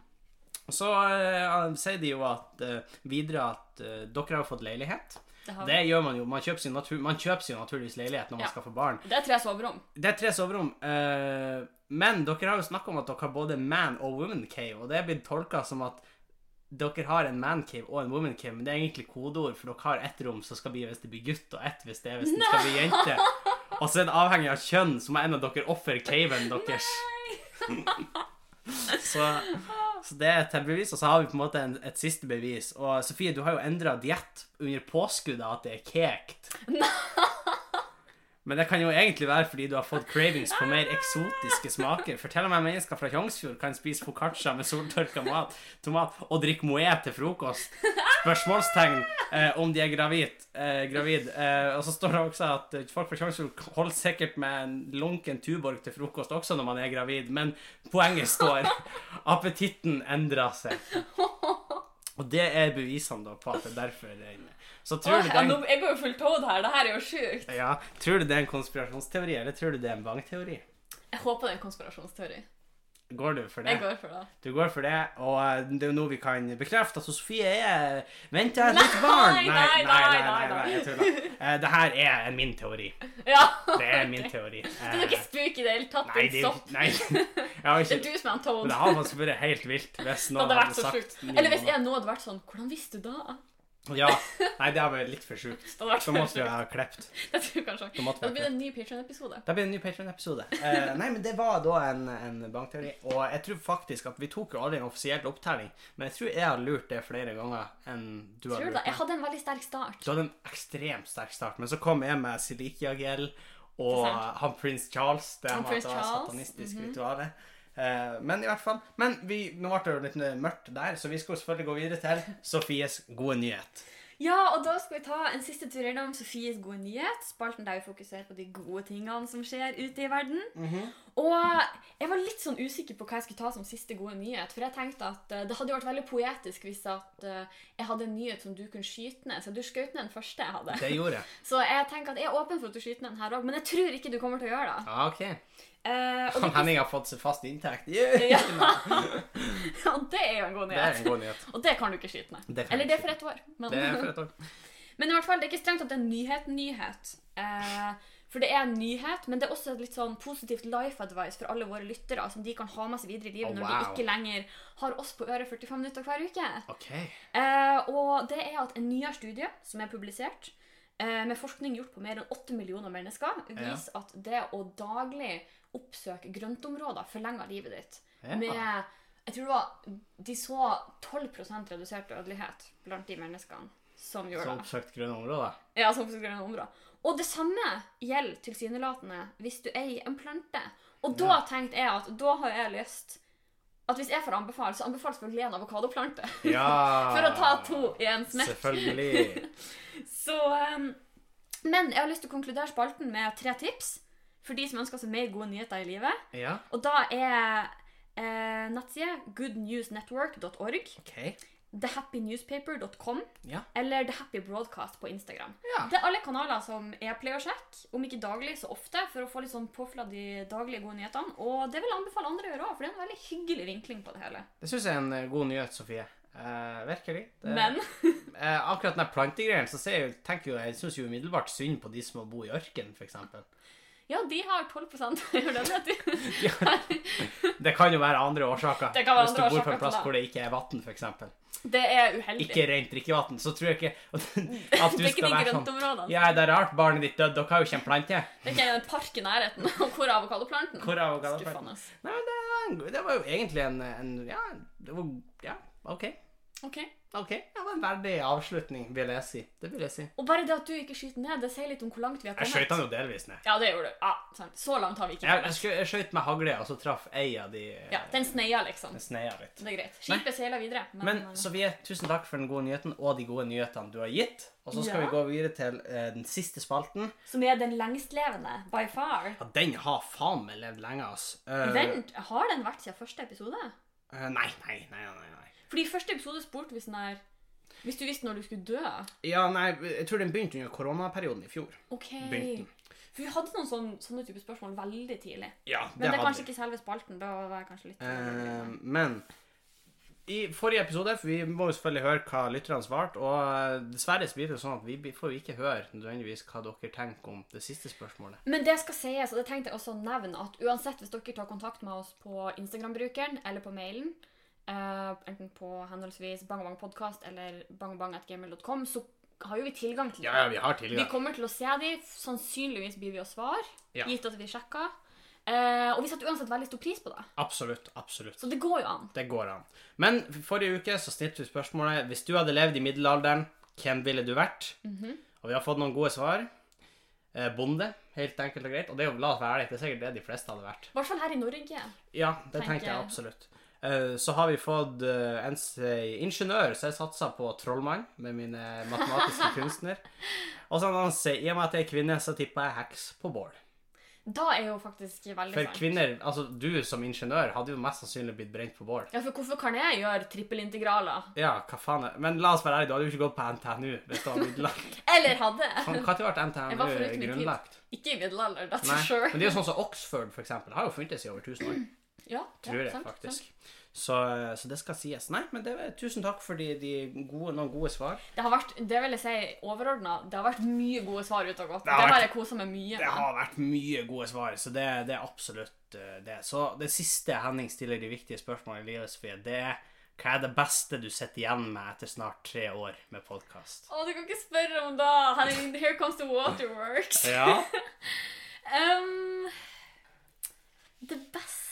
[SPEAKER 1] Så eh, sier de jo at eh, videre at eh, dere har fått leilighet.
[SPEAKER 2] Det har vi.
[SPEAKER 1] Det gjør man jo. Man kjøper, sin natur man kjøper seg jo naturligvis leilighet når man
[SPEAKER 2] Ja.
[SPEAKER 1] skal få barn.
[SPEAKER 2] Det er tre soverom.
[SPEAKER 1] Det er tre soverom. eh, men dere har jo snakka om at dere har både man og woman cave, og det er blitt tolka som at dere har en man cave og en woman cave, men det er egentlig kodeord, for dere har ett rom som skal bli hvis det blir gutt, og ett hvis det er hvis det skal bli jente. Og så er det avhengig av kjønn, så må en av dere ofre caven deres. Så, så det er et bevis, og så har vi på en måte en, et siste bevis. Og Sofie, du har jo endra diett under påskudd av at det er kekt. Men det kan jo egentlig være fordi du har fått cravings på mer eksotiske smaker. For til og med mennesker fra Tjongsfjord kan spise foccaccia med soltørka mat, tomat og drikke moët til frokost. Spørsmålstegn eh, om de er gravid. Eh, gravid. Eh, og så står det også at eh, folk fra Tjongsfjord holder sikkert med en lunken Tuborg til frokost også når man er gravid, men poenget står appetitten endrer seg. Og det er bevisene da på at det er derfor det er inne. Så tror
[SPEAKER 2] Åh,
[SPEAKER 1] du det
[SPEAKER 2] ja,
[SPEAKER 1] er en
[SPEAKER 2] nå, jeg går jo full toad her. Det her er jo sjukt.
[SPEAKER 1] ja, Tror du det er en konspirasjonsteori, eller tror du det er en bankteori?
[SPEAKER 2] Jeg håper det er en konspirasjonsteori.
[SPEAKER 1] Går du for det?
[SPEAKER 2] Jeg går for det.
[SPEAKER 1] Du går for det, og eh, det er jo nå vi kan bekrefte at Sofie er venter et nytt barn.
[SPEAKER 2] Nei, nei, nei, nei,
[SPEAKER 1] jeg tuller. Eh, Det her er min teori.
[SPEAKER 2] Ja.
[SPEAKER 1] Det er min teori.
[SPEAKER 2] Det er
[SPEAKER 1] Eh,
[SPEAKER 2] ikke spuk i det hele tatt.
[SPEAKER 1] Nei, det er jo
[SPEAKER 2] Stopp.
[SPEAKER 1] ikke- Nei, jeg har
[SPEAKER 2] Det er
[SPEAKER 1] ikke
[SPEAKER 2] du som er en toad.
[SPEAKER 1] Men det hadde faktisk vært helt vilt hvis
[SPEAKER 2] Det
[SPEAKER 1] noen hadde
[SPEAKER 2] hadde vært så
[SPEAKER 1] sagt
[SPEAKER 2] sjukt.
[SPEAKER 1] ni
[SPEAKER 2] Eller hvis
[SPEAKER 1] måneder.
[SPEAKER 2] jeg nå hadde vært sånn Hvordan visste du da?
[SPEAKER 1] Ja. Nei, det hadde vært litt for sjukt.
[SPEAKER 2] Det hadde vært
[SPEAKER 1] Så
[SPEAKER 2] så
[SPEAKER 1] måtte jeg
[SPEAKER 2] sjukt.
[SPEAKER 1] ha klept.
[SPEAKER 2] Jeg tror kanskje
[SPEAKER 1] Da måtte vi
[SPEAKER 2] Det
[SPEAKER 1] ha
[SPEAKER 2] blir
[SPEAKER 1] klept.
[SPEAKER 2] en ny Patreon-episode.
[SPEAKER 1] Da blir det en ny Patreon-episode. Eh, nei, men det var da en, en bankteori. Og jeg tror faktisk at vi tok jo aldri en offisiell opptelling, men jeg tror jeg har lurt det flere ganger enn du har
[SPEAKER 2] Tror du
[SPEAKER 1] lurt
[SPEAKER 2] det?
[SPEAKER 1] meg.
[SPEAKER 2] Jeg hadde en veldig sterk start.
[SPEAKER 1] Du hadde en ekstremt sterk start, men så kom jeg med Silikia-gel og
[SPEAKER 2] Ikke sant?
[SPEAKER 1] han prins Charles. Det
[SPEAKER 2] Han
[SPEAKER 1] med at
[SPEAKER 2] prins
[SPEAKER 1] det var
[SPEAKER 2] Charles, Mhm.
[SPEAKER 1] satanistisk ritual. Eh, Men i hvert fall Men vi, nå ble det jo litt mørkt der, så vi skal jo selvfølgelig gå videre til Sofies gode nyhet.
[SPEAKER 2] Ja, og da skal vi ta en siste tur innom Sofies gode nyhet. Spalten der vi fokuserer på de gode tingene som skjer ute i verden.
[SPEAKER 1] Mhm.
[SPEAKER 2] Og jeg var litt sånn usikker på hva jeg skulle ta som siste gode nyhet. For jeg tenkte at eh, det hadde jo vært veldig poetisk hvis at eh, jeg hadde en nyhet som du kunne skyte ned. Så du skjøt ned den første jeg hadde.
[SPEAKER 1] Det gjorde jeg.
[SPEAKER 2] Så jeg tenker at jeg er åpen for at du skyter ned den her òg, men jeg tror ikke du kommer til å gjøre det.
[SPEAKER 1] Ah, ok.
[SPEAKER 2] Eh, og,
[SPEAKER 1] Han
[SPEAKER 2] det
[SPEAKER 1] Henning har fått seg fast inntekt. Yeah!
[SPEAKER 2] ja. og det er jo en god
[SPEAKER 1] Det er en
[SPEAKER 2] nyhet.
[SPEAKER 1] god nyhet.
[SPEAKER 2] Og det kan du ikke skyte ned.
[SPEAKER 1] Det kan
[SPEAKER 2] Eller
[SPEAKER 1] jeg
[SPEAKER 2] det
[SPEAKER 1] ikke
[SPEAKER 2] er for et år. Men...
[SPEAKER 1] Det er for et år.
[SPEAKER 2] Men i hvert fall, det er ikke strengt at det er nyhet-nyhet. Eh, for det er en nyhet, men det er også et litt sånn positivt life advice for alle våre lyttere, som de kan ha med seg videre i livet
[SPEAKER 1] Oh,
[SPEAKER 2] når de
[SPEAKER 1] wow.
[SPEAKER 2] ikke lenger har oss på øret 45 minutter hver uke.
[SPEAKER 1] Ok.
[SPEAKER 2] Eh, og det er at en nyere studie som er publisert, eh, med forskning gjort på mer enn 8 millioner mennesker, viser at det å daglig oppsøke grøntområder forlenger livet ditt.
[SPEAKER 1] Ja.
[SPEAKER 2] Med Jeg tror det var De så 12 redusert dødelighet blant de menneskene som gjorde
[SPEAKER 1] Så
[SPEAKER 2] det.
[SPEAKER 1] oppsøkt grønne områder.
[SPEAKER 2] Ja, som skal grønne områder. Og det samme gjelder tilsynelatende hvis du eier en plante. Og da tenkte jeg at da har jeg lyst at hvis jeg får anbefale, så anbefales selvfølgelig en avokadoplante.
[SPEAKER 1] Ja.
[SPEAKER 2] For å ta to i en
[SPEAKER 1] Ah,
[SPEAKER 2] smekk.
[SPEAKER 1] Selvfølgelig.
[SPEAKER 2] Så um, Men jeg har lyst til å konkludere spalten med tre tips for de som ønsker seg mer gode nyheter i livet.
[SPEAKER 1] Ja.
[SPEAKER 2] Og da er eh, nettsida goodnewsnetwork.org.
[SPEAKER 1] Ok.
[SPEAKER 2] thehappynewspaper.com
[SPEAKER 1] Ja.
[SPEAKER 2] eller The Happy Broadcast på Instagram.
[SPEAKER 1] Ja.
[SPEAKER 2] Det er alle kanaler som jeg pleier å sjekke, om ikke daglig, så ofte, for å få litt sånn påfyll av de daglige gode nyhetene. Og det vil jeg anbefale andre å gjøre òg, for det er en veldig hyggelig vinkling på det hele.
[SPEAKER 1] Det syns jeg er en eh, god nyhet, Sofie. Eh, virkelig. Det,
[SPEAKER 2] Men
[SPEAKER 1] eh, akkurat den der plantegreien, så ser jeg, jo- tenker jo, jeg syns jo umiddelbart synd på de som må bo i ørken, f.eks.
[SPEAKER 2] ja, de har 12 dødelighet.
[SPEAKER 1] Det kan jo være andre årsaker.
[SPEAKER 2] Det kan være
[SPEAKER 1] Hvis du
[SPEAKER 2] andre
[SPEAKER 1] bor på
[SPEAKER 2] årsaker
[SPEAKER 1] en plass
[SPEAKER 2] til det.
[SPEAKER 1] hvor det ikke er vann, f.eks.
[SPEAKER 2] Det er uheldig.
[SPEAKER 1] Ikke rent drikkevann. Så tror jeg ikke at
[SPEAKER 2] det
[SPEAKER 1] du
[SPEAKER 2] er ikke
[SPEAKER 1] skal
[SPEAKER 2] de
[SPEAKER 1] være sånn
[SPEAKER 2] grøntområdene.
[SPEAKER 1] Ja, det er rart. Barnet ditt døde. Dere har jo ikke en plante.
[SPEAKER 2] Det er ikke en park i nærheten. Og hvor er avokadoplanten?
[SPEAKER 1] Hvor er avokadoplanten?
[SPEAKER 2] Skuffende. ass.
[SPEAKER 1] Nei, men det var, en, det var jo egentlig en, en Ja, det var, ja OK.
[SPEAKER 2] Ok.
[SPEAKER 1] OK. Det var en verdig avslutning, vil jeg si. Det vil jeg si.
[SPEAKER 2] Og bare det at du ikke skyter ned, det sier litt om hvor langt vi har
[SPEAKER 1] Jeg
[SPEAKER 2] kommet.
[SPEAKER 1] skøyt han jo delvis ned.
[SPEAKER 2] Ja, det gjorde du. Ja, sant. Så langt har vi ikke
[SPEAKER 1] Jeg,
[SPEAKER 2] kommet.
[SPEAKER 1] jeg, skjø- jeg skøyt med hagle, og så traff ei av de
[SPEAKER 2] Ja, den sneia, liksom.
[SPEAKER 1] Den sneia litt.
[SPEAKER 2] Det er greit. Skipet seiler videre. eh,
[SPEAKER 1] Men Sofie, tusen takk for den gode nyheten og de gode nyhetene du har gitt. Og så skal
[SPEAKER 2] Ja.
[SPEAKER 1] vi gå videre til eh, den siste spalten.
[SPEAKER 2] Som er den lengstlevende, by far.
[SPEAKER 1] Ja, den har faen meg levd lenge, ass. Eh,
[SPEAKER 2] Vent, har den vært siden første episode?
[SPEAKER 1] eh, nei, nei, nei, nei, nei.
[SPEAKER 2] Fordi i første episode spurte vi sånn her Hvis du visste når du skulle dø.
[SPEAKER 1] Ja, nei, jeg tror den begynte under koronaperioden i fjor.
[SPEAKER 2] OK.
[SPEAKER 1] Begynte.
[SPEAKER 2] For vi hadde noen sånne, sånne type spørsmål veldig tidlig.
[SPEAKER 1] Ja,
[SPEAKER 2] Men det, er
[SPEAKER 1] hadde
[SPEAKER 2] kanskje
[SPEAKER 1] vi.
[SPEAKER 2] ikke selve spalten. Da var jeg kanskje litt
[SPEAKER 1] Eh, men i forrige episode, for vi må jo selvfølgelig høre hva lytterne svarte, og eh, dessverre så blir det sånn at vi blir- får jo ikke høre nødvendigvis hva dere tenker om det siste spørsmålet.
[SPEAKER 2] Men det skal sies, og det tenkte jeg også å nevne, at uansett hvis dere tar kontakt med oss på Instagram-brukeren eller på mailen, eh, enten på henholdsvis bangbangpodkast eller bangbang.gmail.com, så har jo vi tilgang til
[SPEAKER 1] Ja, ja, vi har
[SPEAKER 2] Vi
[SPEAKER 1] tidligere.
[SPEAKER 2] kommer til å se de, sannsynligvis blir vi å svare,
[SPEAKER 1] Ja.
[SPEAKER 2] gitt at vi sjekker. Eh, og vi setter uansett veldig stor pris på det,
[SPEAKER 1] Absolutt, absolutt.
[SPEAKER 2] så det går jo an.
[SPEAKER 1] Det går an. Men forrige uke så snitt vi spørsmålet Hvis du hadde levd i middelalderen, hvem ville du vært? Og vi har fått noen gode svar. Eh, bonde, helt enkelt og greit. Og det er jo, la oss være ærlig, det er sikkert det de fleste hadde vært.
[SPEAKER 2] I hvert fall her i Norge.
[SPEAKER 1] Ja, det
[SPEAKER 2] Tenker
[SPEAKER 1] tenker jeg
[SPEAKER 2] jeg.
[SPEAKER 1] absolutt. Eh, Så har vi fått eh, en s- ingeniør, så jeg satser på trollmann med mine matematiske kunstner. Og så har han sier, i og med at jeg er kvinne, så tipper jeg heks på bål.
[SPEAKER 2] Da er jo faktisk veldig
[SPEAKER 1] For
[SPEAKER 2] sant.
[SPEAKER 1] kvinner, altså du som ingeniør, hadde jo mest sannsynlig blitt brent på bål.
[SPEAKER 2] Ja, for hvorfor kan jeg gjøre trippelintegraler?
[SPEAKER 1] Ja, hva faen er Men la oss være ærlige, du hadde jo ikke gått på NTNU hvis det var middelagt.
[SPEAKER 2] Eller hadde
[SPEAKER 1] Når
[SPEAKER 2] jeg?
[SPEAKER 1] ble
[SPEAKER 2] Jeg var foruten
[SPEAKER 1] NTNU
[SPEAKER 2] min tid.
[SPEAKER 1] grunnlagt?
[SPEAKER 2] Ikke i middelalder, that's
[SPEAKER 1] Nei.
[SPEAKER 2] for sure.
[SPEAKER 1] Men det er jo sånn som Oxford, for eksempel, har jo funtes i over 1000 år.
[SPEAKER 2] Ja,
[SPEAKER 1] Tror jeg, faktisk. Så, så det skal sies. Nei, men det, var- tusen takk for de, de gode, noen gode svar.
[SPEAKER 2] Det har vært, det vil jeg si, overordna. Det har vært mye gode svar ut og godt.
[SPEAKER 1] Det
[SPEAKER 2] Det
[SPEAKER 1] har
[SPEAKER 2] har
[SPEAKER 1] vært-
[SPEAKER 2] jeg kosa meg mye
[SPEAKER 1] Det
[SPEAKER 2] med.
[SPEAKER 1] har vært mye gode svar, så det, det er absolutt eh, det. Så det siste Henning stiller de viktige spørsmålene i livet, Sofie, det er hva er det beste du sitter igjen med etter snart tre år med podkast?
[SPEAKER 2] Å, du kan ikke spørre om det! Henning, Here comes the waterworks.
[SPEAKER 1] Ja.
[SPEAKER 2] Ehm, det beste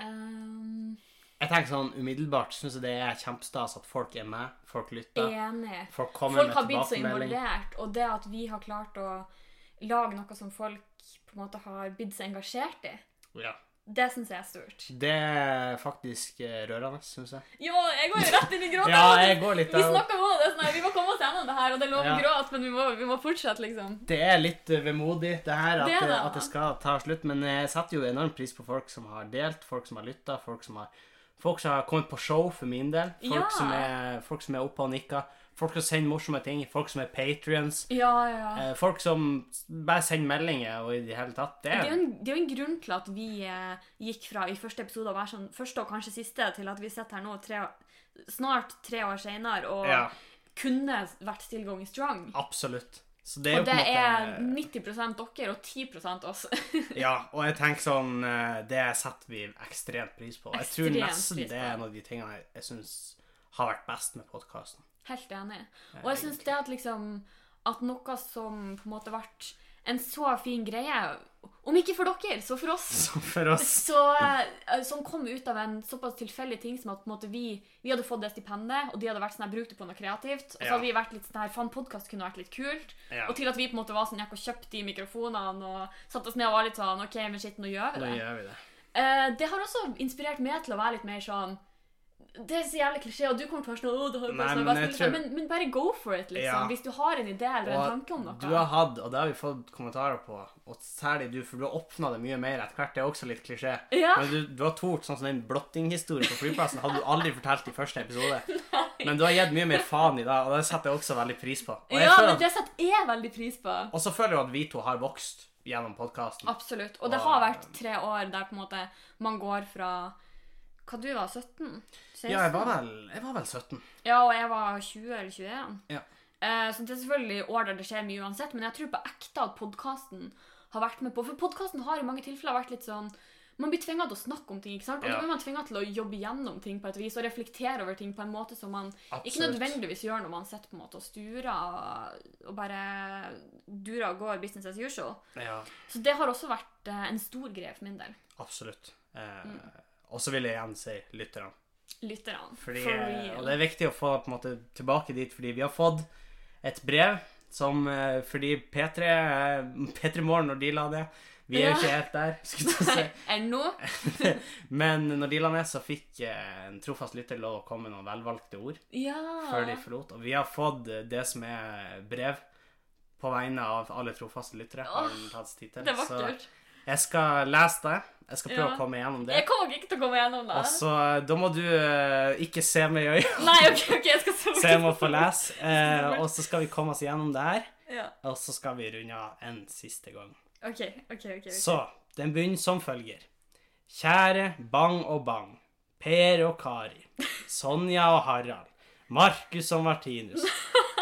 [SPEAKER 2] Ehm,
[SPEAKER 1] Jeg tenker sånn umiddelbart syns jeg det er kjempestas at folk er med, folk lytter.
[SPEAKER 2] Enig.
[SPEAKER 1] Folk kommer
[SPEAKER 2] Folk har
[SPEAKER 1] med
[SPEAKER 2] blitt så
[SPEAKER 1] tilbakemelding.
[SPEAKER 2] involvert, og det at vi har klart å lage noe som folk på en måte har blitt så engasjert i,
[SPEAKER 1] Ja.
[SPEAKER 2] det syns jeg er stort.
[SPEAKER 1] Det er faktisk eh, rørende, syns jeg.
[SPEAKER 2] Jo, jeg går jo rett inn i gråten.
[SPEAKER 1] Ja, jeg går litt
[SPEAKER 2] Vi
[SPEAKER 1] av
[SPEAKER 2] snakket om det, sånn her, vi må komme oss gjennom det her, og det er lov å
[SPEAKER 1] Ja.
[SPEAKER 2] gråte, men vi må, vi må fortsette, liksom.
[SPEAKER 1] Det er litt eh, vemodig, det her, at
[SPEAKER 2] Det
[SPEAKER 1] det,
[SPEAKER 2] er det.
[SPEAKER 1] at det skal ta slutt. Men eh, jeg setter jo enorm pris på folk som har delt, folk som har lytta, folk som har Folk som har kommet på show for min del. Folk,
[SPEAKER 2] Ja.
[SPEAKER 1] som, er, folk som er oppe og nikker. Folk som sender morsomme ting. Folk som er patrions.
[SPEAKER 2] Ja, ja.
[SPEAKER 1] Eh, folk som bare sender meldinger og i det hele tatt. Det
[SPEAKER 2] Det er,
[SPEAKER 1] er,
[SPEAKER 2] jo en, det er jo en grunn til at vi eh, gikk fra i første episode å være sånn første og kanskje siste, til at vi sitter her nå tre, snart tre år senere og
[SPEAKER 1] ja,
[SPEAKER 2] kunne vært still going strong.
[SPEAKER 1] absolutt. Så det er
[SPEAKER 2] Og
[SPEAKER 1] jo på
[SPEAKER 2] det er
[SPEAKER 1] en måte
[SPEAKER 2] 90 dere og 10 oss.
[SPEAKER 1] Ja, og jeg tenker sånn eh, Det setter vi ekstremt pris på. Jeg tror
[SPEAKER 2] Ekstremt
[SPEAKER 1] nesten
[SPEAKER 2] pris på.
[SPEAKER 1] det er en av de tingene jeg, jeg syns har vært best med podkasten.
[SPEAKER 2] Helt enig. Og jeg syns det at liksom At noe som på en måte ble en så fin greie, om ikke for dere, så for oss
[SPEAKER 1] Så for oss
[SPEAKER 2] så, eh, som kom ut av en såpass tilfeldig ting som at på en måte, vi, vi hadde fått det stipendet, og de hadde vært sånn her, brukt det på noe kreativt. Og så
[SPEAKER 1] Ja.
[SPEAKER 2] hadde vi vært litt sånn her, faen, podkast kunne vært litt kult.
[SPEAKER 1] Ja.
[SPEAKER 2] Og til at vi på en måte var sånn, gikk og kjøpte de mikrofonene og satte oss ned og var litt sånn, ok, men shit, nå gjør vi
[SPEAKER 1] Nå
[SPEAKER 2] det.
[SPEAKER 1] gjør vi det.
[SPEAKER 2] Eh, det har også inspirert meg til å være litt mer sånn Det er så jævlig klisjé, og du kommer til å være sånn «Åh, det har jo
[SPEAKER 1] Nei,
[SPEAKER 2] bare sånn
[SPEAKER 1] men
[SPEAKER 2] bare
[SPEAKER 1] jeg
[SPEAKER 2] spille seg»,
[SPEAKER 1] tror-
[SPEAKER 2] men, men bare go for it, liksom.
[SPEAKER 1] Ja.
[SPEAKER 2] Hvis du har en idé eller en tanke om noe.
[SPEAKER 1] Og du har hatt, og det har vi fått kommentarer på, og særlig du, for du har åpna det mye mer etter hvert. Det er også litt klisjé.
[SPEAKER 2] Ja.
[SPEAKER 1] Men du, du har tort, sånn som den blottinghistorien på flyplassen hadde du aldri fortalt i første episode. Men du har gitt mye mer faen i det, og det setter jeg også veldig pris på. Og, jeg
[SPEAKER 2] Ja,
[SPEAKER 1] føler
[SPEAKER 2] men
[SPEAKER 1] at,
[SPEAKER 2] det setter jeg veldig pris på.
[SPEAKER 1] og så føler jeg at vi to har vokst gjennom podkasten.
[SPEAKER 2] Absolutt. Og det
[SPEAKER 1] Og-
[SPEAKER 2] har vært tre år der på en måte man går fra Hva du var? 17? 16?
[SPEAKER 1] Ja, jeg var, vel, jeg var vel 17.
[SPEAKER 2] Ja, og jeg var 20 eller 21.
[SPEAKER 1] Ja.
[SPEAKER 2] Eh, så det er selvfølgelig år der det skjer mye uansett, men jeg tror på ekte at podkasten har vært med på For podkasten har i mange tilfeller vært litt sånn man blir tvinga til å snakke om ting, ikke sant? og
[SPEAKER 1] Ja.
[SPEAKER 2] da blir man tvinga til å jobbe gjennom ting på et vis og reflektere over ting på en måte som man ikke
[SPEAKER 1] Absolutt.
[SPEAKER 2] nødvendigvis gjør når man sitter på en måte og sturer og bare durer og går business as usual.
[SPEAKER 1] Ja,
[SPEAKER 2] Så det har også vært eh, en stor greie for min del.
[SPEAKER 1] absolutt. Eh,
[SPEAKER 2] Mm.
[SPEAKER 1] Og så vil jeg igjen si lytterne.
[SPEAKER 2] Lytterne.
[SPEAKER 1] Fordi,
[SPEAKER 2] for
[SPEAKER 1] eh,
[SPEAKER 2] real.
[SPEAKER 1] og det er viktig å få på en måte, tilbake dit, fordi vi har fått et brev som eh, Fordi P3 eh, P3 Morgen, når de la det Vi er jo
[SPEAKER 2] Ja.
[SPEAKER 1] ikke helt der, skulle jeg til å si.
[SPEAKER 2] Ennå.
[SPEAKER 1] Men når de la ned, så fikk eh, en trofast lytter lov å komme med noen velvalgte ord
[SPEAKER 2] Ja.
[SPEAKER 1] før de forlot. Og vi har fått eh, det som er brev på vegne av alle trofaste lyttere. har den tatt seg tid til.
[SPEAKER 2] Det er
[SPEAKER 1] Så
[SPEAKER 2] vakkert.
[SPEAKER 1] jeg skal lese det. Jeg skal prøve
[SPEAKER 2] Ja.
[SPEAKER 1] å komme gjennom det.
[SPEAKER 2] Jeg kommer ikke til å komme gjennom det.
[SPEAKER 1] Og så eh, Da må du eh, ikke se meg i øynene.
[SPEAKER 2] Nei, ok, ok, jeg skal sove.
[SPEAKER 1] Så jeg må få lese. Eh, og så skal vi komme oss gjennom det her.
[SPEAKER 2] Ja.
[SPEAKER 1] Og så skal vi runde av en siste gang.
[SPEAKER 2] Ok, ok, ok. ok.
[SPEAKER 1] Så den begynner som følger. Kjære Bang og Bang. Per og Kari. Sonja og Harald. Markus og Martinus.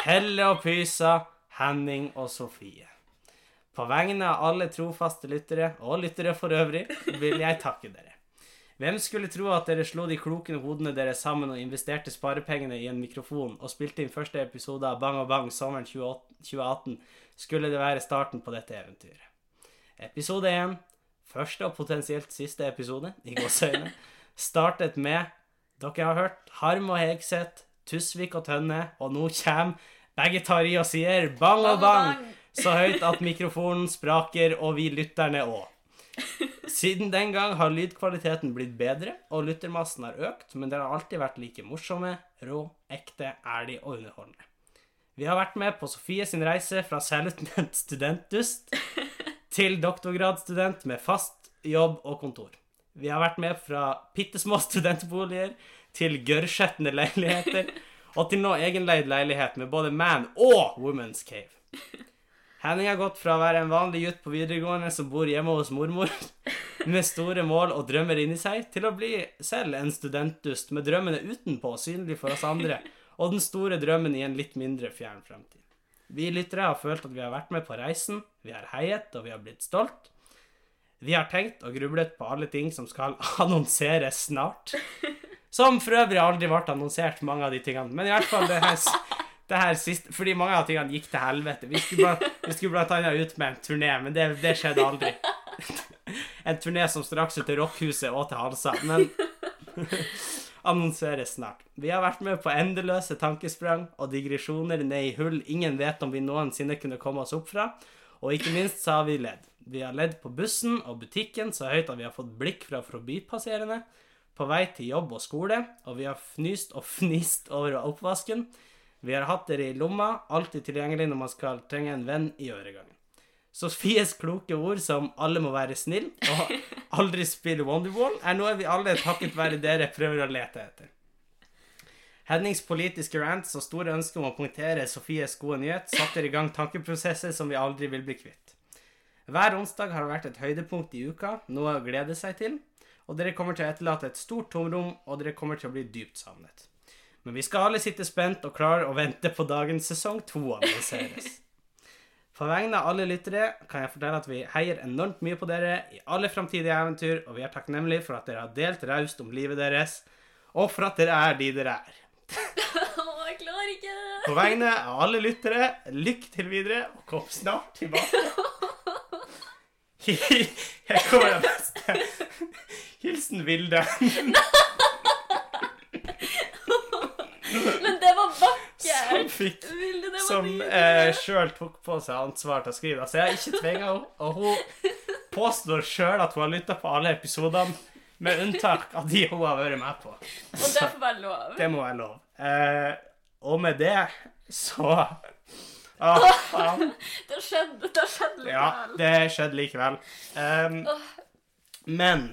[SPEAKER 1] Helle og Pysa. Henning og Sofie. På vegne av alle trofaste lyttere, og lyttere for øvrig, vil jeg takke dere. Hvem skulle tro at dere slo de klokene hodene deres sammen og investerte sparepengene i en mikrofon og spilte inn første episode av Bang og Bang sommeren 28 2018, skulle det være starten på dette eventyret. Episode 1, første og potensielt siste episode i gåsøgne, startet med Dere har hørt Harm og Hegseth, Tusvik og Tønne, og nå kommer begge tar i og sier bang og bang, så høyt at mikrofonen spraker, og vi lytterne òg. Siden den gang har lydkvaliteten blitt bedre, og lyttermassen har økt, men dere har alltid vært like morsomme, rå, ekte, ærlige og underholdende. Vi har vært med på Sofie sin reise fra selvutnevnt studentdust til doktorgradsstudent med fast jobb og kontor. Vi har vært med fra pittesmå studentboliger til gørrskjetne leiligheter, og til nå egenleid leilighet med både man og woman's cave. Henning har gått fra å være en vanlig gutt på videregående som bor hjemme hos mormor, med store mål og drømmer inni seg, til å bli selv en studentdust med drømmene utenpå synlig for oss andre, og den store drømmen i en litt mindre fjern fremtid. Vi lyttere har følt at vi har vært med på reisen, vi har heiet, og vi har blitt stolt. Vi har tenkt og grublet på alle ting som skal annonseres snart. Som for øvrig aldri ble annonsert, mange av de tingene. Men i hvert fall det her, det her siste Fordi mange av tingene gikk til helvete. Vi skulle, blant- vi skulle blant annet ut med en turné, men det, det skjedde aldri. En turné som strakk seg til Rockhuset og til Halsa. Men annonseres snart. Vi har vært med på endeløse tankesprang og digresjoner ned i hull ingen vet om vi noensinne kunne komme oss opp fra, og ikke minst så har vi ledd. Vi har ledd på bussen og butikken så høyt at vi har fått blikk fra forbipasserende, på vei til jobb og skole, og vi har fnyst og fnist over oppvasken. Vi har hatt dere i lomma, alltid tilgjengelig når man skal trenge en venn i øregangen. Sofies kloke ord som 'alle må være snill' og 'aldri spille Wonderwall' er noe vi alle takket være dere prøver å lete etter. Hennings politiske rants og store ønske om å punktere Sofies gode nyhet satte i gang tankeprosesser som vi aldri vil bli kvitt. Hver onsdag har vært et høydepunkt i uka, noe å glede seg til, og dere kommer til å etterlate et stort tomrom, og dere kommer til å bli dypt savnet. Men vi skal alle sitte spent og klare å vente på dagens sesong to annonseres. På vegne av alle lyttere kan jeg fortelle at vi heier enormt mye på dere i alle framtidige eventyr, og vi er takknemlige for at dere har delt raust om livet deres, og for at dere er de dere er.
[SPEAKER 2] Å, jeg klarer ikke.
[SPEAKER 1] På vegne av alle lyttere, lykke til videre, og kom snart tilbake. Jeg kommer av beste. Hilsen Vilde.
[SPEAKER 2] Men det var
[SPEAKER 1] Som
[SPEAKER 2] vakkert.
[SPEAKER 1] fikk
[SPEAKER 2] Vilde, det var
[SPEAKER 1] som eh,
[SPEAKER 2] nydelig.
[SPEAKER 1] sjøl tok på seg ansvar til å skrive. det. Så jeg har ikke tvinga henne. Og hun påstår sjøl at hun har lytta på alle episodene. Med unntak av de hun har vært med på.
[SPEAKER 2] Og det får være lov.
[SPEAKER 1] Det må være lov. Eh, og med det så Å, faen.
[SPEAKER 2] Det har skjedd, det har skjedd litt
[SPEAKER 1] Ja,
[SPEAKER 2] vel.
[SPEAKER 1] det skjedde likevel. Ehm, men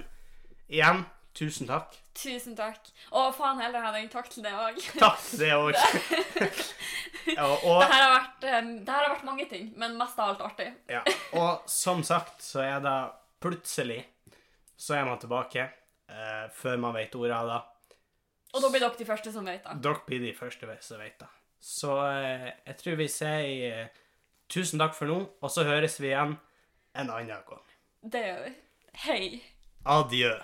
[SPEAKER 1] igjen, tusen takk.
[SPEAKER 2] Tusen takk. Å, faen heller hadde jeg takk til det òg.
[SPEAKER 1] Takk, det òg. og,
[SPEAKER 2] Det
[SPEAKER 1] og,
[SPEAKER 2] her har vært, eh, det her har vært mange ting, men mest av alt artig.
[SPEAKER 1] ja. og som sagt, så er det plutselig Så er man tilbake eh, før man vet ordet av det.
[SPEAKER 2] Og da blir dere de første som vet det.
[SPEAKER 1] Dere blir de første som vet det. Så eh, jeg tror vi sier eh, tusen takk for nå, og så høres vi igjen en annen gang.
[SPEAKER 2] Det gjør vi. Hei.
[SPEAKER 1] Adjø.